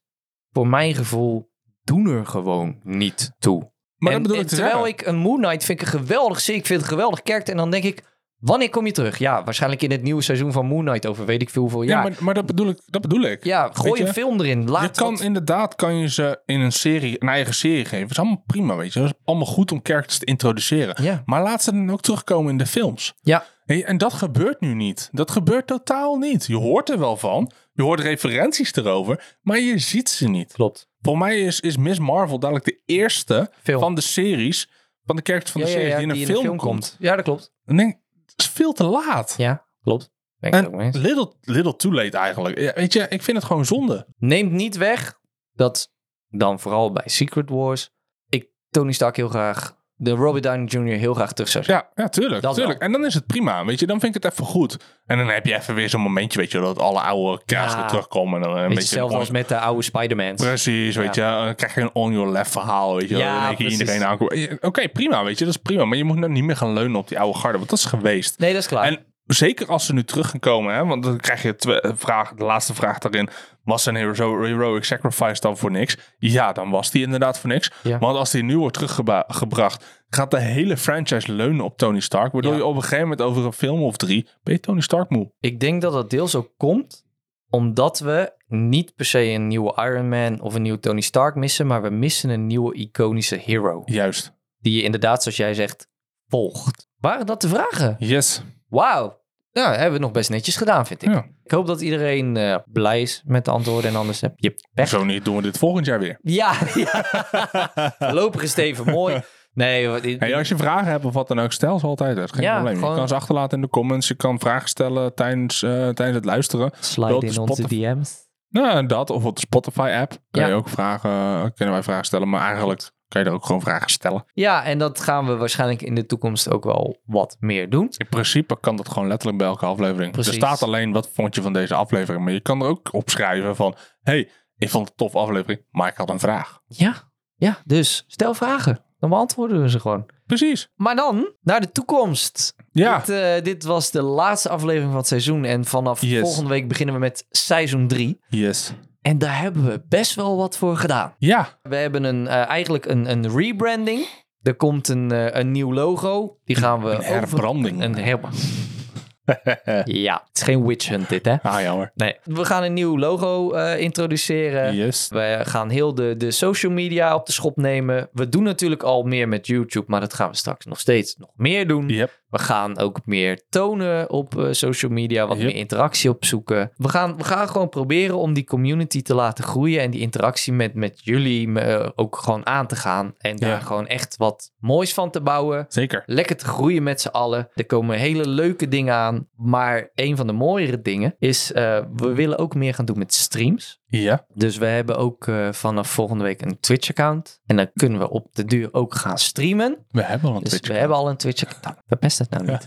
S1: voor mijn gevoel, doen er gewoon niet toe.
S2: Maar
S1: en,
S2: dat bedoel
S1: en
S2: ik te
S1: terwijl
S2: zeggen.
S1: ik een Moon Knight vind ik een geweldig serie, ik vind het een geweldig kerk. En dan denk ik, wanneer kom je terug? Ja, waarschijnlijk in het nieuwe seizoen van Moon Knight over weet ik veel hoeveel
S2: Ja,
S1: jaar.
S2: maar, maar dat bedoel ik. Dat bedoel ik.
S1: Ja, gooi
S2: je?
S1: een film erin. Laat
S2: je kan
S1: wat-
S2: inderdaad kan je ze in een serie, een eigen serie geven. Dat is allemaal prima, weet je. Dat is allemaal goed om characters te introduceren.
S1: Ja.
S2: Maar laat ze dan ook terugkomen in de films.
S1: Ja.
S2: Hé, en dat gebeurt nu niet. Dat gebeurt totaal niet. Je hoort er wel van. Je hoort referenties erover. Maar je ziet ze niet.
S1: Klopt.
S2: Voor mij is, is Miss Marvel dadelijk de eerste
S1: Film.
S2: van de series. Van de characters van de series die in een film, komt.
S1: Ja, dat klopt.
S2: Dan denk ik, het is veel te laat.
S1: Ja, klopt. Ben ik
S2: En-
S1: het ook mee eens.
S2: Little, little too late eigenlijk. Ja, weet je, ik vind het gewoon zonde.
S1: Neemt niet weg dat dan vooral bij Secret Wars ik Tony Stark heel graag, de Robert Downey Jr. heel graag terug zou zien.
S2: Ja, ja tuurlijk.
S1: Dat
S2: tuurlijk. En dan is het prima, weet je. Dan vind ik het even goed. En dan heb je even weer zo'n momentje, weet je, dat alle oude kaas
S1: Ja.
S2: weer terugkomen. En dan eh, een
S1: Weet je,
S2: beetje
S1: hetzelfde als met de oude Spider-Man.
S2: Precies, weet je. Dan krijg je een on your left verhaal, weet je.
S1: Ja,
S2: wel. Dan denk je
S1: precies.
S2: iedereen aankomt. Eh, Oké, prima, weet je. Dat is prima. Maar je moet nou niet meer gaan leunen op die oude garde, want dat is geweest.
S1: Nee, dat is klaar.
S2: En zeker als ze nu terug gaan komen, hè, want dan krijg je twe- eh, vraag, de laatste vraag daarin. Was zijn hero- heroic sacrifice dan voor niks? Ja, dan was die inderdaad voor niks.
S1: Ja.
S2: Want als die nu wordt teruggebracht, gaat de hele franchise leunen op Tony Stark. Waardoor
S1: Ja.
S2: je op een gegeven moment over een film of drie, ben je Tony Stark moe.
S1: Ik denk dat dat deels ook komt omdat we niet per se een nieuwe Iron Man of een nieuwe Tony Stark missen, maar we missen een nieuwe iconische hero.
S2: Juist.
S1: Die je inderdaad, zoals jij zegt, volgt. Waren dat de vragen?
S2: Yes.
S1: Wauw. Ja, hebben we nog best netjes gedaan, vind ik.
S2: Ja.
S1: Ik hoop dat iedereen eh, blij is met de antwoorden en anders heb je pech.
S2: Zo niet doen we dit volgend jaar weer.
S1: Ja, ja. Voorlopig is het even mooi. Nee, wat-
S2: Hey, als je vragen hebt of wat dan ook, stel ze altijd. Dat is geen
S1: Ja,
S2: probleem.
S1: gewoon-
S2: Je kan ze achterlaten in de comments. Je kan vragen stellen tijdens, eh, tijdens het luisteren. op
S1: slide
S2: de
S1: in onze
S2: Spotify.
S1: DM's.
S2: Nou, dat of op de Spotify-app kun
S1: Ja.
S2: je ook vragen, eh, kunnen wij vragen stellen. Maar eigenlijk kan je er ook gewoon vragen stellen.
S1: Ja, en dat gaan we waarschijnlijk in de toekomst ook wel wat meer doen.
S2: In principe kan dat gewoon letterlijk bij elke aflevering.
S1: Precies.
S2: Er staat alleen wat vond je van deze aflevering. Maar je kan er ook opschrijven van, hey, ik vond het een tof aflevering, maar ik had een vraag.
S1: Ja, ja. Dus stel vragen. Dan beantwoorden we ze gewoon.
S2: Precies.
S1: Maar dan naar de toekomst.
S2: Ja,
S1: Dit, eh, dit was de laatste aflevering van het seizoen. En vanaf
S2: Yes.
S1: volgende week beginnen we met seizoen 3.
S2: yes.
S1: En daar hebben we best wel wat voor gedaan.
S2: Ja,
S1: We hebben een, eh, eigenlijk een, een rebranding. Er komt een, eh, een nieuw logo. Die gaan we.
S2: een herbranding.
S1: over- Een her- ja, het is geen witch hunt, dit hè?
S2: Ah, jammer.
S1: Nee. We gaan een nieuw logo eh, introduceren.
S2: Yes.
S1: We gaan heel de, de social media op de schop nemen. We doen natuurlijk al meer met YouTube, maar dat gaan we straks nog steeds nog meer doen.
S2: Yep.
S1: We gaan ook meer tonen op eh, social media, wat
S2: Yep.
S1: meer interactie opzoeken. We gaan, we gaan gewoon proberen om die community te laten groeien en die interactie met, met jullie eh, ook gewoon aan te gaan. En daar
S2: Ja.
S1: gewoon echt wat moois van te bouwen.
S2: Zeker.
S1: Lekker te groeien met z'n allen. Er komen hele leuke dingen aan. Maar een van de mooiere dingen is, eh, we willen ook meer gaan doen met streams.
S2: Ja.
S1: Dus we hebben ook eh, vanaf volgende week een Twitch-account. En dan kunnen we op de duur ook gaan streamen.
S2: We hebben al een
S1: Dus
S2: Twitch.
S1: we hebben al een Twitch-account. Verpest het nou niet.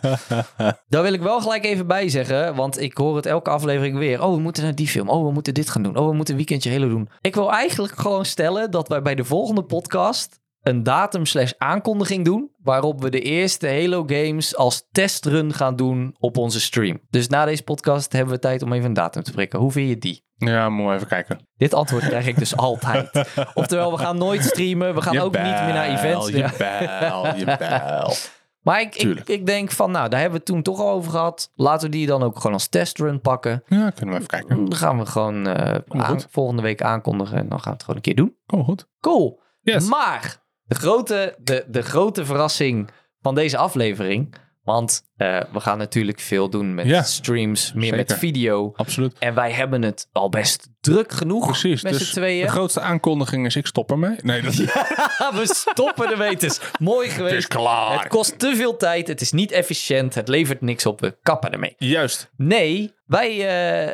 S1: Daar wil ik wel gelijk even bij zeggen. Want ik hoor het elke aflevering weer. Oh, we moeten naar die film. Oh, we moeten dit gaan doen. Oh, we moeten een weekendje hele doen. Ik wil eigenlijk gewoon stellen dat wij bij de volgende podcast een datum slash aankondiging doen... waarop we de eerste Halo games als testrun gaan doen op onze stream. Dus na deze podcast hebben we tijd om even een datum te prikken. Hoe vind je die?
S2: Ja, moet we even kijken.
S1: Dit antwoord krijg ik dus altijd. Oftewel, we gaan nooit streamen. We gaan ook niet meer naar events.
S2: Jawel, jawel.
S1: maar ik, ik,
S2: tuurlijk.
S1: ik denk van, nou, daar hebben we het toen toch al over gehad. Laten we die dan ook gewoon als testrun pakken.
S2: Ja, kunnen we even kijken.
S1: Dan gaan we gewoon eh,
S2: Komt
S1: aan-
S2: goed.
S1: volgende week aankondigen. En dan gaan we het gewoon een keer doen.
S2: Kom goed.
S1: Cool.
S2: Yes.
S1: Maar de grote, de, de grote verrassing van deze aflevering Want eh, we gaan natuurlijk veel doen met
S2: Ja.
S1: streams, meer met
S2: Zeker.
S1: video.
S2: Absoluut.
S1: En wij hebben het al best druk genoeg
S2: Precies.
S1: met
S2: dus
S1: z'n tweeën.
S2: de grootste aankondiging is ik stop ermee. Nee, dat
S1: we stoppen de wetens. Mooi
S2: Het
S1: geweest.
S2: is klaar.
S1: Het kost te veel tijd, het is niet efficiënt, het levert niks op, we kappen ermee.
S2: Juist.
S1: Nee, wij,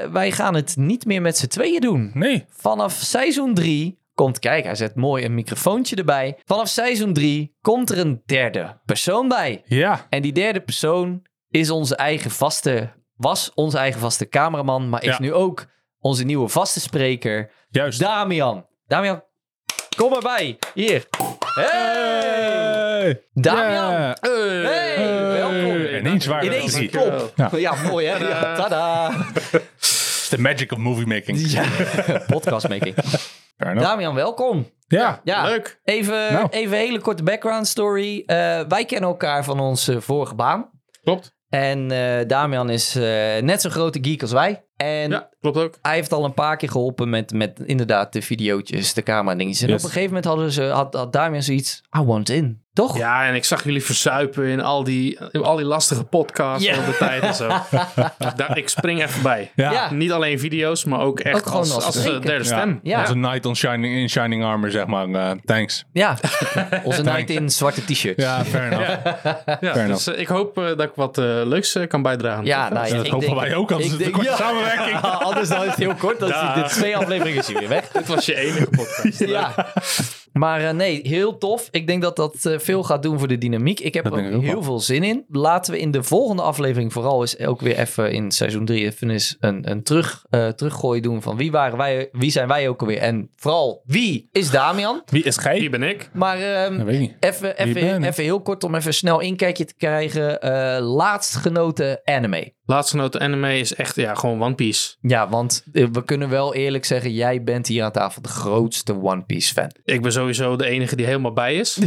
S1: eh, wij gaan het niet meer met z'n tweeën doen.
S2: Nee.
S1: Vanaf seizoen 3 komt, kijk, hij zet mooi een microfoontje erbij. Vanaf seizoen 3 komt er een derde persoon bij.
S2: Ja.
S1: En die derde persoon is onze eigen vaste, was onze eigen vaste cameraman, maar is
S2: Ja. Dus-
S1: nu ook onze nieuwe vaste spreker,
S2: Juist.
S1: Damian. Damian, kom erbij. Hier. Hey!
S2: Hey.
S1: Damian.
S2: Ja.
S1: Hey, welkom.
S2: Hey. Ineens waren we
S1: Ineens
S2: er
S1: een
S2: drie.
S1: klop. Ja.
S2: Ja.
S1: mooi hè. Eh. Ja, tada.
S2: It's the magic of movie making.
S1: Ja, podcastmaking.
S2: Fair enough.
S1: Damian, welkom.
S2: Ja.
S1: Ja,
S3: Leuk.
S1: Even,
S2: Nou.
S1: even een hele korte background story. Eh, wij kennen elkaar van onze vorige baan.
S3: Klopt.
S1: En eh, Damian is eh, net zo'n grote geek als wij. En
S3: Ja, klopt ook.
S1: hij heeft al een paar keer geholpen met, met inderdaad de videootjes, de camera dingetjes. En
S2: Yes.
S1: op een gegeven moment hadden ze, had, had Damian zoiets, I want in. Toch?
S3: Ja, en ik zag jullie verzuipen in al die, in al die lastige podcasts
S1: Ja.
S3: van de tijd en zo. Daar, ik spring even bij.
S2: Ja.
S1: Ja.
S3: Niet alleen video's, maar ook echt
S1: Ook gewoon
S3: als,
S1: als
S3: als,
S1: spreker.
S3: eh, derde stem.
S1: Ja.
S2: Als een knight on shining, in shining armor, zeg maar. Eh, thanks.
S1: Ja. Onze night in zwarte t-shirts.
S2: Ja, fair enough.
S3: Ja,
S2: Fair
S3: dus eh, ik hoop eh, dat ik wat eh, leuks eh, kan bijdragen.
S1: Ja, nou ja,
S2: dat
S1: ik
S2: hopen
S1: denk-
S2: wij ook, anders
S1: ik
S2: is het
S1: denk-
S2: een korte
S1: ja.
S2: samenwerking.
S1: Anders dan is het heel kort. Dan
S3: Ja.
S1: is dit twee afleveringen is hij weer weg.
S3: Dit was je enige podcast.
S1: Ja. Maar eh, nee, heel tof. Ik denk dat dat eh, veel gaat doen voor de dynamiek. Ik heb
S2: Dat
S1: er
S2: denk ik ook
S1: heel
S2: wel.
S1: veel zin in. Laten we in de volgende aflevering vooral eens ook weer even in seizoen 3 even eens een, een terug, eh, teruggooi doen van wie waren wij, wie zijn wij ook alweer. En vooral, wie is Damian?
S2: Wie is gij?
S3: Hier ben ik.
S1: Maar ehm,
S2: Dat weet ik niet.
S1: even,
S2: Wie ben
S1: even,
S2: ik?
S1: even heel kort om even snel inkijkje te krijgen. Eh, laatst genoten anime.
S3: Laatstgenoten anime is echt ja, gewoon One Piece.
S1: Ja, want eh, we kunnen wel eerlijk zeggen, jij bent hier aan tafel de grootste One Piece fan.
S3: Ik ben sowieso de enige die helemaal bij is.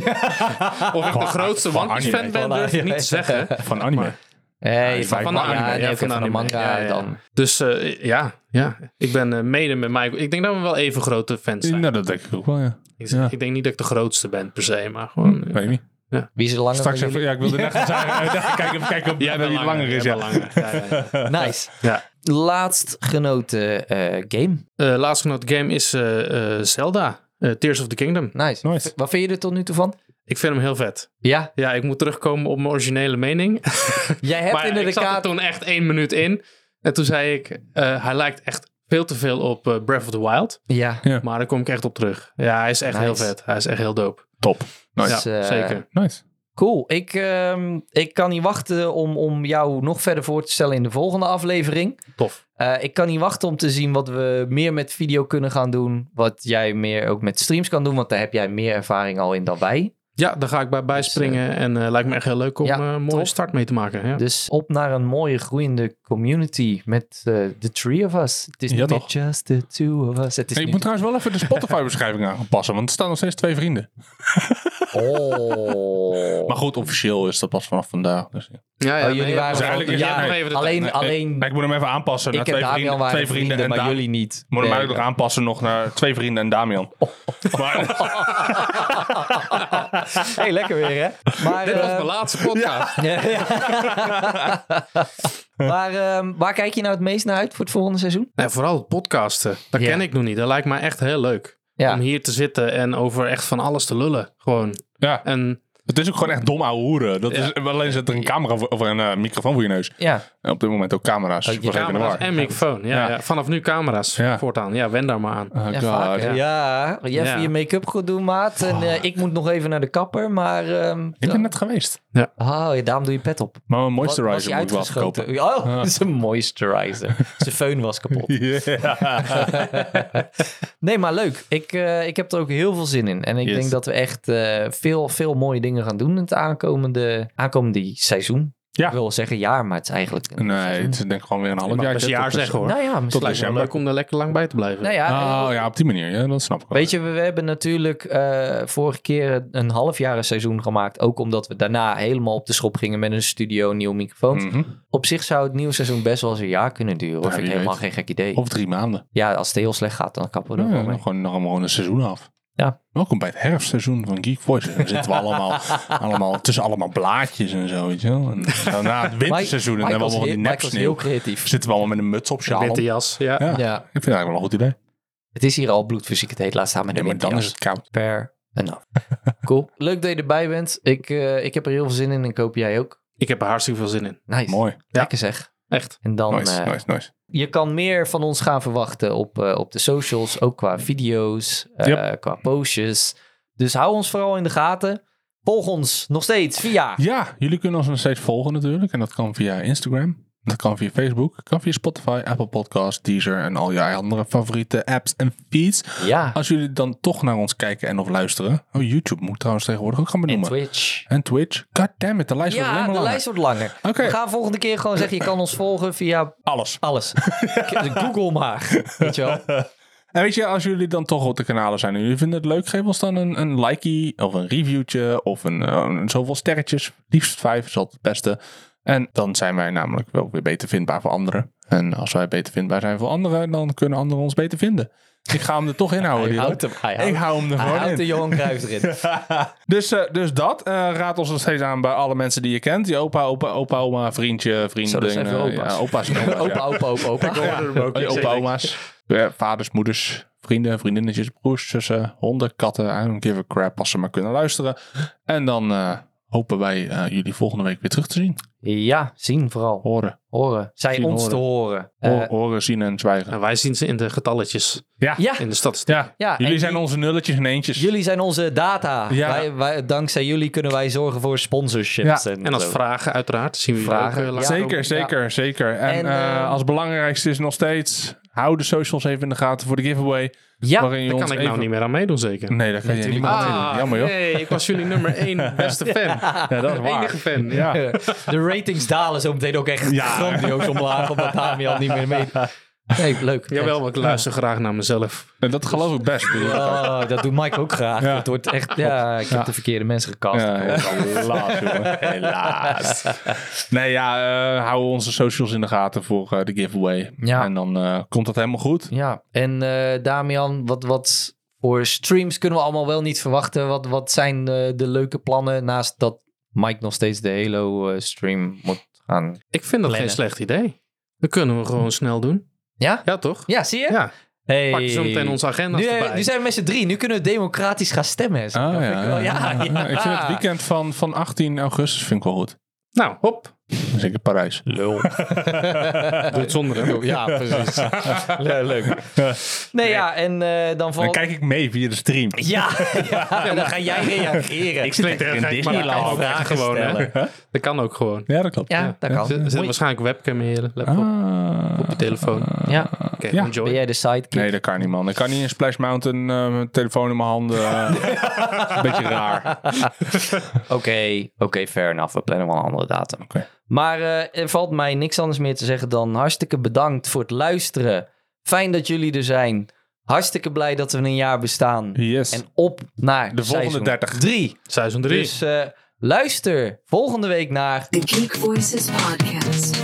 S3: of ik de grootste
S2: Van
S3: One Piece
S2: anime.
S3: fan ben,
S1: Van
S3: durf ik
S1: anime.
S3: niet te zeggen.
S2: Van anime.
S3: Maar-
S1: Hey,
S2: Ja,
S1: van,
S2: van
S1: van,
S2: de
S1: ja,
S2: anime,
S1: nee,
S3: ja,
S1: oké,
S3: van
S1: van de
S3: anime,
S1: manga
S3: ja, ja.
S1: dan.
S3: Dus eh, ja, ja, ik ben eh, mede met Michael. Ik denk dat we wel even grote fans zijn.
S2: Nou, dat denk ik ook wel, ja.
S3: Ik,
S2: Ja.
S3: ik denk niet dat ik de grootste ben per se, maar gewoon... eh,
S2: Weet ik niet.
S1: Wie is er langer
S2: Straks
S1: van
S2: even, ja, ik wilde net gaan zeggen. eh, Kijk even, kijk op
S3: Jij bent
S2: wie langer is,
S3: jij
S2: ja.
S3: bent langer. Ja, ja, ja.
S1: jullie? Nice.
S3: Ja.
S1: Laatst genoten eh, game.
S3: Eh, laatst genoten game is eh, eh, Zelda, eh, Tears of the Kingdom.
S1: Nice.
S2: Nice.
S1: Wat vind je er tot nu toe van?
S3: Ik vind hem heel vet.
S1: Ja,
S3: Ja, ik moet terugkomen op mijn originele mening.
S1: jij hebt
S3: maar
S1: in de
S3: ik zat er
S1: kaart...
S3: toen echt één minuut in. En toen zei ik, eh, hij lijkt echt veel te veel op eh, Breath of the Wild.
S1: Ja,
S3: Maar daar kom ik echt op terug. Ja, hij is echt
S1: Nice.
S3: heel vet. Hij is echt heel dope.
S2: Top. Nice.
S1: Dus,
S3: ja,
S1: eh,
S3: zeker.
S2: Nice.
S1: cool. Ik, ehm, ik kan niet wachten om, om jou nog verder voor te stellen in de volgende aflevering.
S3: Tof.
S1: Eh, ik kan niet wachten om te zien wat we meer met video kunnen gaan doen. Wat jij meer ook met streams kan doen, want daar heb jij meer ervaring al in dan wij.
S3: Ja, daar ga ik bij bijspringen. en eh, lijkt me echt heel leuk om
S1: Dus, Ja,
S3: eh, een mooie
S1: tof.
S3: start mee te maken. Ja.
S1: Dus op naar een mooie groeiende community met eh the three of us. Het is
S2: Ja,
S1: niet meer
S2: toch?
S1: just the two of us. Het is
S2: Hey, ik
S1: niet-
S2: moet trouwens wel even de Spotify-beschrijving aan gaan passen, want er staan nog steeds twee vrienden.
S1: Oh.
S2: Maar goed, officieel is dat pas vanaf vandaag. Dus, ja.
S3: ja,
S1: Oh, jullie waren
S2: Dus eigenlijk
S1: van-
S2: is-
S1: ja,
S2: nee,
S3: even de-
S1: alleen,
S2: nee,
S1: alleen
S2: Nee, ik moet hem even aanpassen
S1: ik
S2: naar
S1: en
S2: twee
S1: Damian
S2: vrienden,
S1: waren
S2: twee vrienden, en
S1: maar
S2: Da-
S1: jullie niet.
S2: Moet hem
S1: Nee.
S2: eigenlijk nog aanpassen nog naar twee vrienden en Damian. Maar,
S1: hey, lekker weer, hè? Maar,
S3: Dit was
S1: eh,
S3: mijn laatste podcast.
S1: maar ehm, waar kijk je nou het meest naar uit voor het volgende seizoen?
S3: Nee, vooral het podcasten. Dat
S1: Ja.
S3: ken ik nog niet. Dat lijkt me echt heel leuk.
S1: Ja.
S3: Om hier te zitten en over echt van alles te lullen. Gewoon.
S2: ja,
S3: En
S2: het is ook gewoon echt dom ouwe hoeren. Dat
S3: Ja.
S2: is, alleen zit er een camera voor- of een eh, microfoon voor je neus.
S1: Ja,
S2: En op dit moment ook camera's.
S1: Oh,
S2: Ik
S1: je
S2: was even in de
S3: camera's
S2: war.
S3: en microfoon. Ja,
S2: Ja.
S3: ja. vanaf nu camera's
S2: Ja.
S3: voortaan. Ja, wen daar maar aan.
S2: Oh,
S1: ja,
S2: God.
S1: vaak, hè?
S2: Ik
S1: ja. Je
S3: Ja.
S1: even je make-up goed doen, maat. En eh, ik moet nog even naar de kapper, maar... ehm,
S2: Ah. ben net geweest.
S1: Oh, ja, daarom doe je pet op.
S2: Maar mijn
S1: Wat- was
S2: moisturizer
S1: die
S2: moet ik wel
S1: uitgeschoten?
S2: verkopen.
S1: Oh, dat is een moisturizer. Zijn föhn was kapot.
S2: Ja.
S1: nee, maar leuk. Ik, eh, ik heb er ook heel veel zin in. En ik
S2: Yes.
S1: denk dat we echt eh, veel, veel mooie dingen gaan doen in het aankomende, aankomende seizoen.
S2: Ja. eh,
S1: Ik wil zeggen jaar, maar het is eigenlijk... een
S2: Nee,
S1: seizoen.
S2: het is denk ik gewoon weer een half
S3: mag
S2: jaar.
S3: best een jaar zeggen, hoor.
S1: Nou ja, misschien.
S3: Het lijkt me
S2: december.
S3: leuk om er lekker lang bij te blijven.
S1: Nou ja,
S2: Oh ja, op die manier. Ja, dat snap ik wel.
S1: Weet je, we we hebben natuurlijk eh, vorige keer een halfjaren seizoen gemaakt. Ook omdat we daarna helemaal op de schop gingen met een studio, een nieuwe microfoon.
S2: Mhm.
S1: Op zich zou het nieuwe seizoen best wel eens een jaar kunnen duren.
S2: Ja,
S1: vind ik
S2: wie
S1: helemaal
S2: weet.
S1: geen gek idee.
S2: Of drie maanden.
S1: Ja, als het heel slecht gaat, dan kappen we er
S2: Ja,
S1: wel mee.
S2: dan gewoon, dan gaan we gewoon een seizoen af.
S1: Ja.
S2: Welkom bij het herfstseizoen van Geek Voice. Dan zitten we allemaal, allemaal tussen allemaal blaadjes en zo, weet je wel. En dan na het winterseizoen en dan hebben we allemaal die
S1: Michael is heel
S2: nepsneeuw.
S1: creatief.
S2: Zitten we allemaal met een muts op, sjaal.
S3: Witte
S2: om.
S3: jas, ja.
S2: Ja.
S1: Ja.
S2: Ik vind het eigenlijk wel een goed idee.
S1: Het is hier al bloedfysiek het heet. Laat staan met
S2: Ja,
S1: een
S2: maar dan is
S1: winterjas.
S2: het koud.
S1: Per en af. Cool. Leuk dat je erbij bent. Ik, eh, ik heb er heel veel zin in en ik hoop jij ook.
S3: Ik heb er hartstikke veel zin in.
S1: Nice.
S2: Mooi.
S1: Lekker zeg.
S3: Echt.
S1: En dan,
S2: Nice,
S1: eh,
S2: nice, nice.
S1: je kan meer van ons gaan verwachten op, eh, op de socials. Ook qua video's, eh, qua postjes. Dus hou ons vooral in de gaten. Volg ons nog steeds via...
S2: Ja, jullie kunnen ons nog steeds volgen natuurlijk. En dat kan via Instagram. Dat kan via Facebook. Dat kan via Spotify, Apple Podcasts, Deezer en al je andere favoriete apps en feeds.
S1: Ja,
S2: Als jullie dan toch naar ons kijken en of luisteren. Oh, YouTube moet ik trouwens tegenwoordig ook gaan
S1: en
S2: benoemen.
S1: Twitch.
S2: En Twitch. Goddammit, de lijst wordt
S1: Ja,
S2: helemaal
S1: de
S2: langer.
S1: lijst wordt langer.
S2: Oké,
S1: We gaan volgende keer gewoon zeggen, je kan ons volgen via
S2: alles.
S1: alles. Dus Google maar, weet je wel.
S2: En weet je, als jullie dan toch op de kanalen zijn en jullie vinden het leuk, geef ons dan een, een likey of een reviewtje of een, eh, een zoveel sterretjes. Liefst vijf is altijd het beste. En dan zijn wij namelijk wel weer beter vindbaar voor anderen. En als wij beter vindbaar zijn voor anderen, dan kunnen anderen ons beter vinden. Ik ga hem er toch in houden.
S1: Hij
S2: die
S1: houdt
S2: lol.
S1: hem, hij
S2: Ik
S1: houdt-
S2: hou hem er
S1: Hij
S2: gewoon
S1: houdt
S2: in.
S1: de Johan Cruijff erin.
S2: Dus, eh, dus dat. eh, raad ons nog steeds aan bij alle mensen die je kent. Je opa, opa, opa, oma, vriendje, vriendin.
S1: Zo, dat zijn
S2: eh,
S1: veel opa's.
S2: ja, opa's. en oma's, ja.
S1: Opa, opa, opa, opa.
S3: hoorde hem ook.
S2: Oh, je opa, oma's, eh, vaders, moeders, vrienden, vriendinnetjes, broers, zussen, honden, katten. I don't give a crap als ze maar kunnen luisteren. En dan eh, hopen wij eh, jullie volgende week weer terug te zien.
S1: Ja, zien vooral.
S2: Horen.
S1: Horen. Zij
S2: Zien,
S1: ons
S2: horen.
S1: te horen. Eh,
S2: Hoor- horen, zien en zwijgen.
S3: En wij zien ze in de getalletjes,
S1: ja,
S3: in de statistiek.
S2: Ja,
S1: ja.
S2: jullie
S1: en
S2: zijn
S1: die-
S2: onze nulletjes en eentjes.
S1: Jullie zijn onze data.
S2: Ja.
S1: Wij, wij, dankzij jullie kunnen wij zorgen voor sponsorships.
S2: Ja.
S1: En, eh,
S3: En als
S1: zo.
S3: vragen uiteraard zien we
S1: Vragen,
S3: vragen. Ook, eh, later
S1: ja.
S2: Zeker, zeker, zeker. En,
S1: En,
S2: eh,
S1: eh,
S2: als belangrijkste is nog steeds, hou de socials even in de gaten voor de giveaway.
S1: Ja,
S2: waarin je
S3: Daar
S2: ons
S3: kan ik
S2: even... Mm.
S3: nou niet meer aan meedoen zeker.
S2: Nee, dat kan je niet meer aan
S3: Ah,
S2: doen. Jammer joh.
S3: nee, ik was jullie nummer één beste fan.
S2: Ja, dat is waar.
S3: Enige fan.
S2: Ja.
S1: de ratings dalen zo meteen ook echt
S2: Ja.
S1: grandioos omlaag. Omdat Damian niet meer mee... Nee, leuk.
S3: Jawel, want ik luister graag naar mezelf.
S2: En dat geloof ik best. bedoel ik ook.
S1: Oh, dat doet Mike ook graag.
S2: Ja.
S1: Het wordt echt... Ja, ik heb de verkeerde mensen gecast.
S2: Ja, helaas, jongen. Helaas. Nee, ja, eh, hou onze socials in de gaten voor eh, de giveaway.
S1: Ja.
S2: En dan eh, komt dat helemaal goed.
S1: Ja, en eh, Damian, wat, wat voor streams kunnen we allemaal wel niet verwachten? Wat, wat zijn eh, de leuke plannen naast dat Mike nog steeds de Halo-stream moet gaan?
S3: Ik vind dat
S1: Plannen.
S3: geen slecht idee. Dat kunnen we gewoon snel doen.
S1: Ja?
S3: Ja, toch?
S1: Ja, zie je?
S3: Ja.
S1: Hey.
S3: Pak zo meteen onze agenda
S2: eh,
S1: nu, eh,
S3: erbij.
S1: nu zijn we met z'n drie, nu kunnen we democratisch gaan stemmen. Dat vind ik wel- ja, ja.
S2: Ah, Ik vind het weekend van, van 18 augustus vind ik wel goed.
S3: Nou, hop.
S2: Zeker Parijs.
S1: Lul.
S3: Doe het zonder hem.
S1: ja, precies. Le- leuk. Nee, ja, en eh, dan
S2: Dan
S1: valt...
S2: kijk ik mee via de stream.
S1: Ja, ja, dan ga jij reageren.
S3: Ik spreek
S2: in
S3: tegen gek, maar
S2: Disneyland.
S3: dat kan ook echt
S1: Vragen
S3: gewoon. hè.
S1: stellen.
S3: Dat kan ook gewoon.
S2: Ja, dat klopt.
S1: Ja, dat
S3: Er
S1: kan.
S3: zit waarschijnlijk webcam in je laptop.
S2: Ah.
S3: Op je telefoon.
S1: Ja.
S3: Oké,
S2: ja.
S3: enjoy.
S1: Ben jij de sidekick?
S2: Ah, Nee, dat kan niet, man. Ik kan niet in Splash Mountain eh, met mijn telefoon in mijn handen. eh, is een beetje raar.
S1: Oké, oké, fair enough. We plannen wel een andere datum.
S2: Oké.
S1: Maar eh, er valt mij niks anders meer te zeggen dan hartstikke bedankt voor het luisteren. Fijn dat jullie er zijn. Hartstikke blij dat we een jaar bestaan.
S2: Yes.
S1: En op naar
S2: De volgende 30.
S1: 3.
S3: Seizoen 3.
S1: Dus eh, luister volgende week naar
S4: The Geek Voices Podcast.